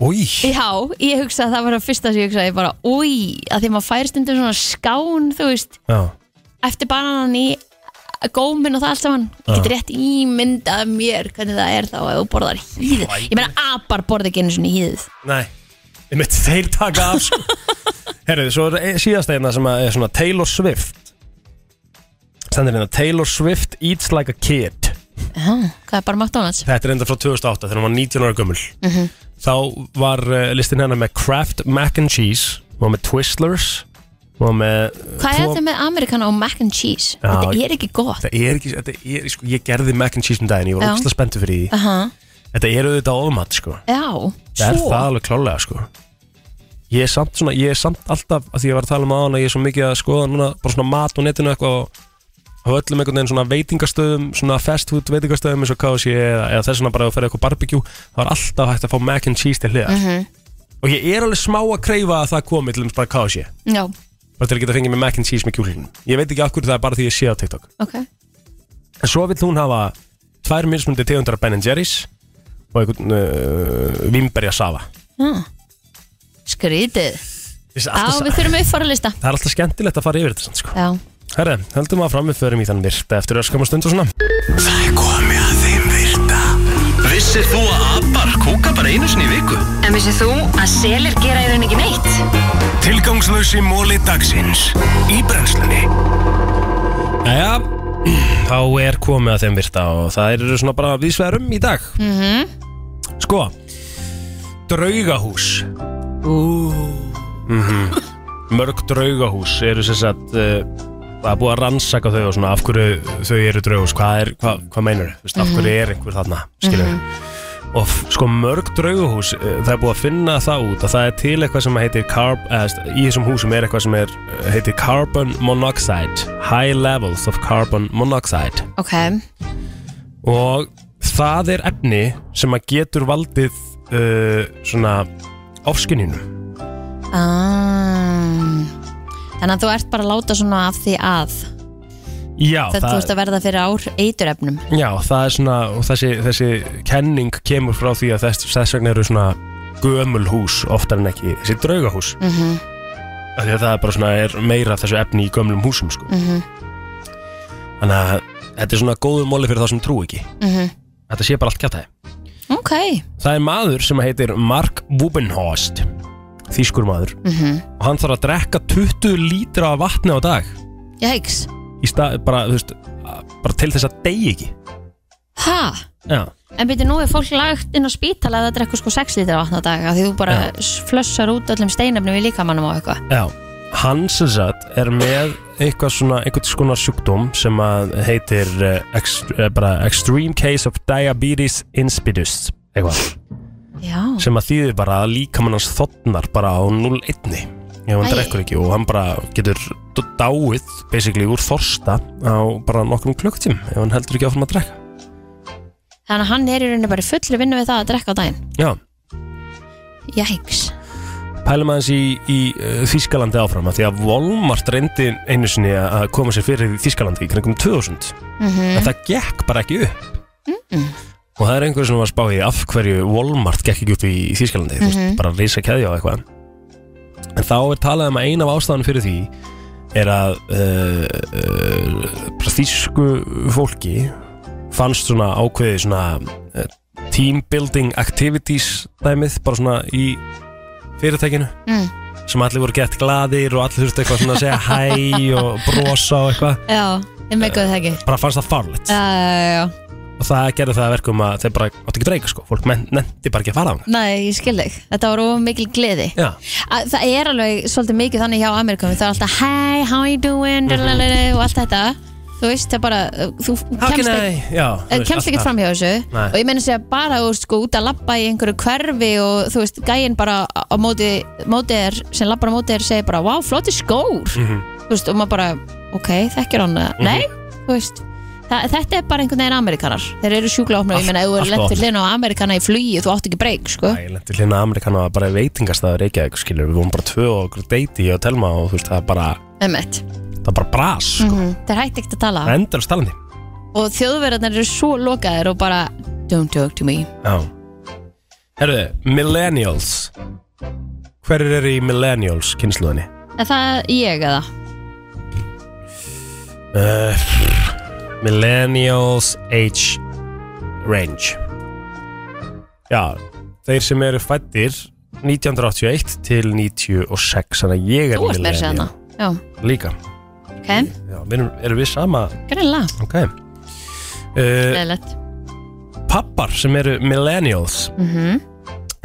Új,
Já, ég hugsa að það var að fyrsta sem ég hugsaði bara Új, að því að maður fær stundum svona skán Þú veist,
já
eftir bananan í gómin og það allt saman
Já.
Getur rétt ímyndað mér hvernig það er þá ef þú borðar hýð Ég meina, apar borða ekki einu svona hýð
Nei, ég mitt [laughs] þeir taka af sko. Herru, svo er ein- síðasta einna sem að er svona Taylor Swift Stendur hérna Taylor Swift eats like a kid
Já, hvað er bara McDonalds?
Þetta er enda frá 2008 þegar hún var 19 ára gömul
Mm -hmm.
Þá var uh, listin hennar með Kraft Mac and Cheese Hún var með Twistlers Hún var með eh,
Hvað er þetta með Amerikan og mac and cheese?
Já,
þetta er ekki gott
Þetta er ekki, þetta er, sko, ég gerði Mac and Cheese um daginn Ég var
Já.
ógstlega spenntu fyrir því
uh
Þetta er auðvitað ofumat sko
Já,
Það er
svo
það alveg klálega sko Ég er samt svona, ég er samt alltaf að því ég var að tala um aðan að ég er svo mikið að skoða núna bara svona mat og netinu eitthvað og á öllum einhvern veginn svona veitingastöðum svona fast food veitingastöðum eins og KFC eða, eða þess vegna bara að ferja eitthvað barbecue þá er alltaf hægt að fá
Mm-hmm.
mac and cheese til hliðar
Mhm.
og ég er alveg smá að kreyfa að það komi til þess bara KFC
Já,
bara til að geta fengið með mac and cheese með kjúklingnum ég veit ekki af hverju það er bara því ég sé á TikTok
Ok.
en svo vill hún hafa tvær mismundi tegundar af Ben Jerry's og einhvern uh, vimberja safa
Mm. Skrítið
Þessi
Já,
alltaf-
við þurfum upp fara lista
það er alltaf skemmtilegt að fara yfir þetta samt, sko.
Já
herre, höldum að fram við förum í þann virta eftir öskama stund og svona
Það er komið að þeim virta Vissir þú að abar kúka bara einu sinni í viku?
En vissið þú að selir gera í raun ekki neitt?
Tilgangslösi móli dagsins Í brennslunni
Jæja, þá er komið að þeim virta og það eru svona bara viðsverum í dag
mm
Sko, draugahús mm Mörg draugahús eru sem sagt uh, Það er búið að rannsaka þau og svona af hverju þau eru draugahús Hvað, er, hvað, hvað meinur þau? Af
Mhm.
hverju er einhver þarna? Skilur Og f- sko mörg draugahús, eh, það er búið að finna það út að það er til eitthvað sem heitir carb, eða, í þessum húsum er eitthvað sem er, eh, heitir carbon monoxide high levels of carbon monoxide
Ok,
og það er efni sem að getur valdið uh, svona ofskinninu
um, þannig að þú ert bara að láta svona af því að
Já,
þetta þú ert að verða fyrir ár eiturefnum
já, það er svona og þessi, þessi kenning kemur frá því að þess, þess vegna eru svona gömul hús oftar en ekki þessi draugahús
mm
Mm-hmm.
-hmm.
af því að það er bara svona er meira af þessu efni í gömlum húsum sko.
Mm -hmm.
þannig að þetta er svona góður móli fyrir þá sem trú ekki þetta sé bara allt kjátt
Ok
það er maður sem heitir Mark Wubenhorst þýskur maður
mm -hmm.
og hann þarf að drekka 20 lítra af vatni á dag
Jæks
í stað, bara, þú veist, bara til þess að degi ekki
Ha?
Já.
En byrju nú er fólk lagt inn á spítala að það drekkur sko 6 lítra vatn á dag af því þú bara
Já.
flössar út öllum steinefnum í líkamannum og eitthvað
Já, hann sem sagt er með eitthvað svona, einhvern skona sjúkdóm sem að heitir uh, ext, uh, bara Extreme Case of Diabetes Insipidus, eitthvað
Já,
Mm-hmm.
sem að þýðir bara að líkamann hans þotnar bara á 0-1 ef hann
Æi.
drekkur ekki og hann bara getur d- dáið basically úr þorsta á bara nokkrum klukktim ef hann heldur ekki áfram að drekka
þannig að hann er í rauninni bara í fullri vinnu við það að drekka á daginn
Já,
Jæks
pælum aðeins í, í uh, Þískalandi áfram að því að Volmart reyndi einu sinni að að koma sér fyrir í Þískalandi í kringum 2000
Mhm.
Mm-hmm.
en það gekk bara ekki upp og það er einhver sem var að spá í af hverju Volmart gekk ekki upp í Þískalandi mm
Mhm.
-hmm. bara reysa keðja og eitthvað en þá er talað um að eina af ástæðan fyrir því er að uh, uh, þísku fólki fannst svona ákveði svona uh, team building activities dæmið bara svona í fyrirtækinu
Mm.
sem allir voru gett gladir og allir þurfti eitthvað svona að
[laughs]
segja hæ og brosa og eitthvað
Já, ég meikaði það ekki
bara fannst það farlegt
Já, já, já,
og það gerði það að verkum að þeir bara átti ekki dreika sko, fólk nefndi bara ekki að fara á hana
næ, ég skil þig Þetta var of mikil gleði
Já.
Að- Það er alveg svolítið mikið þannig hjá Amerikum Það er alltaf, hi, how you doing lalalala, og allt þetta Þú veist, það bara, þú
Mhm. How can
kemst
I? Já, þú
Eh,
veist,
kemst
allt
ekkert
það.
fram hjá þessu
Nei.
og ég meina sér bara þú veist, sko, út að labba í einhverju hverfi og þú veist, gæinn bara á á móti, móti er, sem labbar á móti er segir bara, wow, flotti skór
Mm-hmm.
þú veist, og maður bara, ok, þekkir hann mm
Mhm.
nei, þú veist Þa, þetta er bara einhvern veginn amerikanar þeir eru sjúkla opnum, ég meina, ef þú
allt
eru lent
opnað.
við hlinn á amerikana í flugi, þú átt ekki breyk, sko
Ég lendi hlina Amerikana var bara veitingastæður ekki eitthvað skilur, við vorum bara tvö og okkur deiti ég og Telma og þú veist, það er bara,
emmett,
það er bara bras
mm þeir hætti ekkert að tala
það endur á stalandi
og þjóðverðarnir eru svo lokaðir og bara, don't talk to me
Já Herruðu, millennials Hverjir eru í millennials kynsluðinni?
er það ég eða?
Uh, millennials age range Já, þeir sem eru fættir 1981 til 96 Þannig að ég er
Þú ert meira að segja
millennial
hana, já,
Líka,
ok,
já, við erum, erum við sama
greinlega
Ok Eh, uh,
leðilegt
Pappar sem eru millennials
mm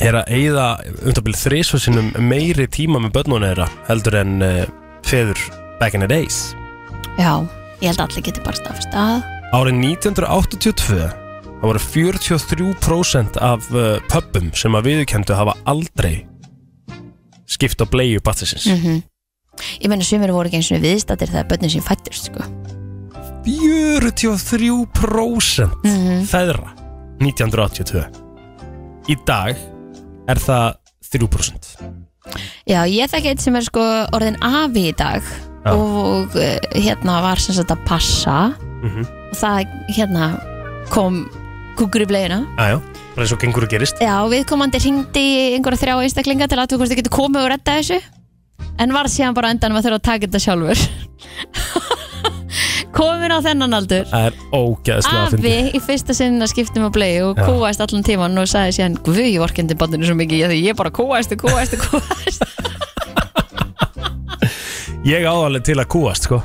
er að um eigða umtabil þrísvarsinum meiri tíma með börnunum þeirra heldur en uh, feður back in the days
Já, ég held að allir geti bara staðfist að
Árið 1982 það voru 43% af uh, pöppum sem að viðurkendu hafa aldrei skipt á bleiu battisins
mm Ég meina sumir voru ekki eins og viðstættir þegar börnin sín fættist sko.
43%
Mhm.
feðra 1982 Í dag er það 3%
Já, ég þekki eitt sem er sko orðin afi í dag
Já.
og eh, hérna var sem sagt að passa
Mhm.
og það hérna kom kúkur í blegina
Æjá, bara eins og gengur og gerist
Já, viðkomandi hringdi í einhverja þrjá einstaklinga til að þú hvort þið getur komið og redda þessu en var síðan bara á endanum að þurfa að taka þetta sjálfur [laughs] komin á þennan aldur
Það er ógæðslega
Afi í fyrsta sinn að skiptum á blei og
Já.
kúaðist allan tíman og sagði síðan Guð, ég vorkendi bandinu svo mikið ég, ég bara kúaðist og kúaðist og kúaðist
Ég á alveg til að kúast
[laughs]
sko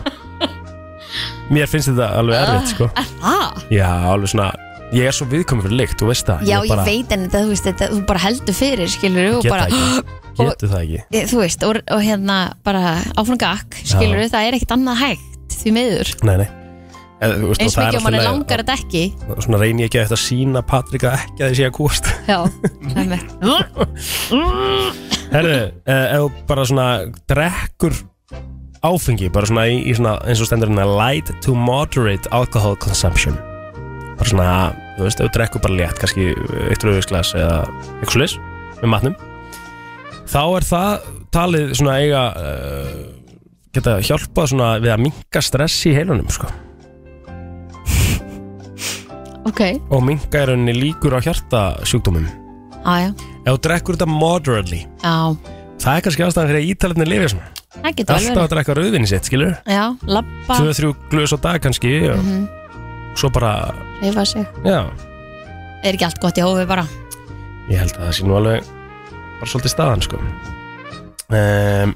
Mér finnst þetta alveg erfitt sko
ah,
Já, alveg svona Ég er svo viðkomið fyrir lykt, þú veist það
Já,
bara,
ég veit en þetta, þú veist, þetta, þú bara heldur fyrir skilur og
Get
bara [gasps]
það ekki Getu það ekki
Ég- þú veist, og, og hérna bara áfram gakk, skilur
Já.
það er ekkert annað hægt því miður
Nei, nei Eð, þú veist, og
eins
það er
mikið og
allt í
mann
lagi.
langar þetta ekki
Og Svona reyni ég ekki að þetta sína Patrika ekki að þið sé að kúast
Já, það er með
Herðu, eh, ef þú bara svona drekkur áfengi bara svona í, í svona, eins og stendur hérna light to moderate alcohol consumption bara svona, þú veist, ef þú drekkur bara létt kannski eitt rauðisglas eða eitthvað slis með matnum þá er það talið svona eiga uh, geta hjálpað svona við að minka stress í heilunum sko
Ok, [laughs]
og minka er henni líkur á hjartasjúkdómum
aðja,
ef þú drekkur þetta moderately
já
það er kannski ástæðan fyrir að ítalarnir lifi svona
Það getur alveg
alltaf að
verið.
drekka rauðvinni sitt, skilur
Já, labba,
2-3 glöðs á dag kannski og
Mhm.
svo bara,
reyfa sig
já
Er ekki allt gott í hófi bara
ég held að það sé nú alveg bara svolítið staðan sko um,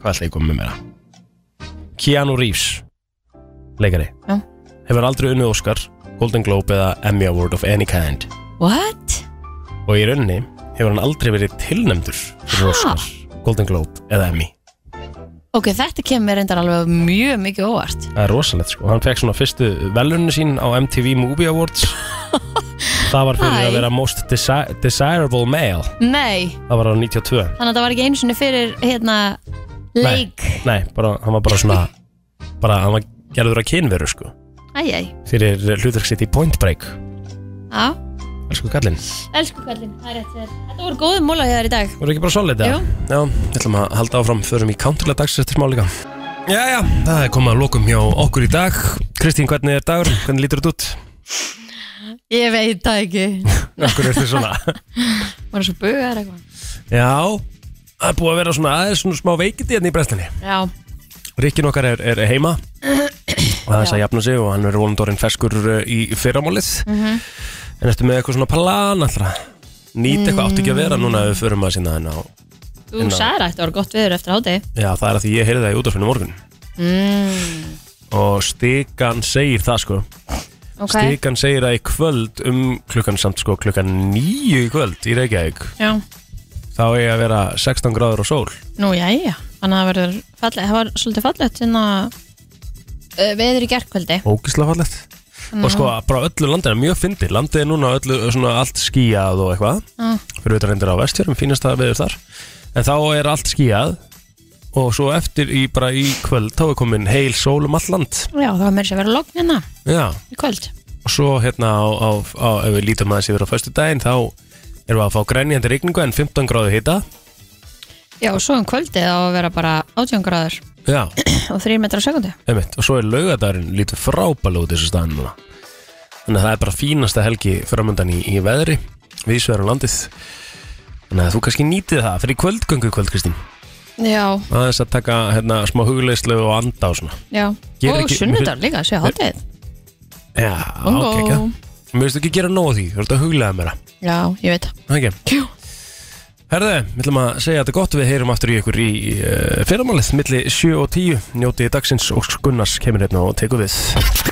hvað ætla ég að koma með meira Keanu Reeves leikari
Já.
hefur aldrei unnið Oscar, Golden Globe eða Emmy Award of any kind
What?
og í rauninni hefur hann aldrei verið tilnæmdur fyrir Oscar, Golden Globe eða Emmy
Ok, þetta kemur reyndar alveg mjög mikið óvart
Það er rosalegt sko, hann fekk svona fyrstu velunni sín á MTV Movie Awards Það var fyrir
Æ.
að vera Most desi Desirable Male
Nei,
Það var á 92
þannig að það var ekki einu sinni fyrir hérna leik
Nei, nei bara, hann var bara svona bara, hann var gerður að kynveru sko
Æjæj,
fyrir hlutverk sitt í Point Break
já
Elsku kallinn
Elsku kallinn, það er rétt þér Þetta voru góðum múla hér í dag
Voru ekki bara solid eða?
Jú.
Já, við ætlum að halda áfram, förum í counterlega dags eftir smá líka Jæja, það er komið að lokum hjá okkur í dag Kristín, hvernig er dagur? Hvernig lítur þetta út?
Ég veit það
[laughs]
ekki
Akkur er þetta
[laughs]
[laughs] svona?
Var svo bugar eitthvað
Já, það er búið að vera svona aðeins svona smá veikindi hérna í brestinni
Já,
Rikkin okkar er, er heima og það er þess að jafna sig og hann verður vonandi orðin ferskur uh, í fyrramálið
Mhm.
en ertu með eitthvað svona plan allra nýta eitthvað átt ekki að vera núna ef við förum að sinna þenn á
þú
Hérna.
sagði að þetta voru gott viður eftir háti
Já, það er að því ég heyrði það í útafinu morgun
mm,
og Stikan segir það sko
Ok.
Stikan segir það í kvöld um klukkan samt sko klukkan nýju í kvöld í Reykjavík
Já,
þá er að vera 16 gráður og sól
nú jæja Þannig að það verður fallegt Það var svolítið fallegt sinna uh, veður í gerkvöldi
Ógislega fallegt
Þannig
Og
að-
sko bara öllu landinu, mjög fyndið Landið er núna öllu, svona allt skíjað og eitthvað
Já.
Fyrir auðvitað reyndir á vestjörnum, fínast að veður þar En þá er allt skíjað Og svo eftir í, bara í kvöld Þá er komin heil sól um all land
Já, það var meira sér að vera logn hérna
Já
í kvöld
Og svo hérna á, á, á Ef við lítum aðeins yfir á föstu daginn Þá erum við að fá grænjandi rigningu En 15 gráðu hita
Já, og svo um kvöldið á að vera bara 18 gráður
Já,
og 3 metrar á sekundu
einmitt Og svo er laugadagurinn lítið frábælega út í þessu staðin núna Þannig að það er bara fínasta helgi framöndan í, í veðri Vísveður á landið Þannig að þú kannski nýtið það fyrir kvöldgöngu í kvöld, Kristín
Já,
aðeins að taka hérna, smá hugleyslu og anda og svona
já
Gerir
Og
ekki-
sunnudagur líka, séu hátíð
Já,
Bongó.
ok, ekki Mér veistu ekki gera nóg af því, þú ert að huglega mér
Já, ég veit það
það ekki Herðu, við ætlum að segja þetta gott Við heyrum aftur í ykkur í eh, uh, fyrramálið milli 7 og 10, njótið dagsins og Gunnars kemur hérna og tekur við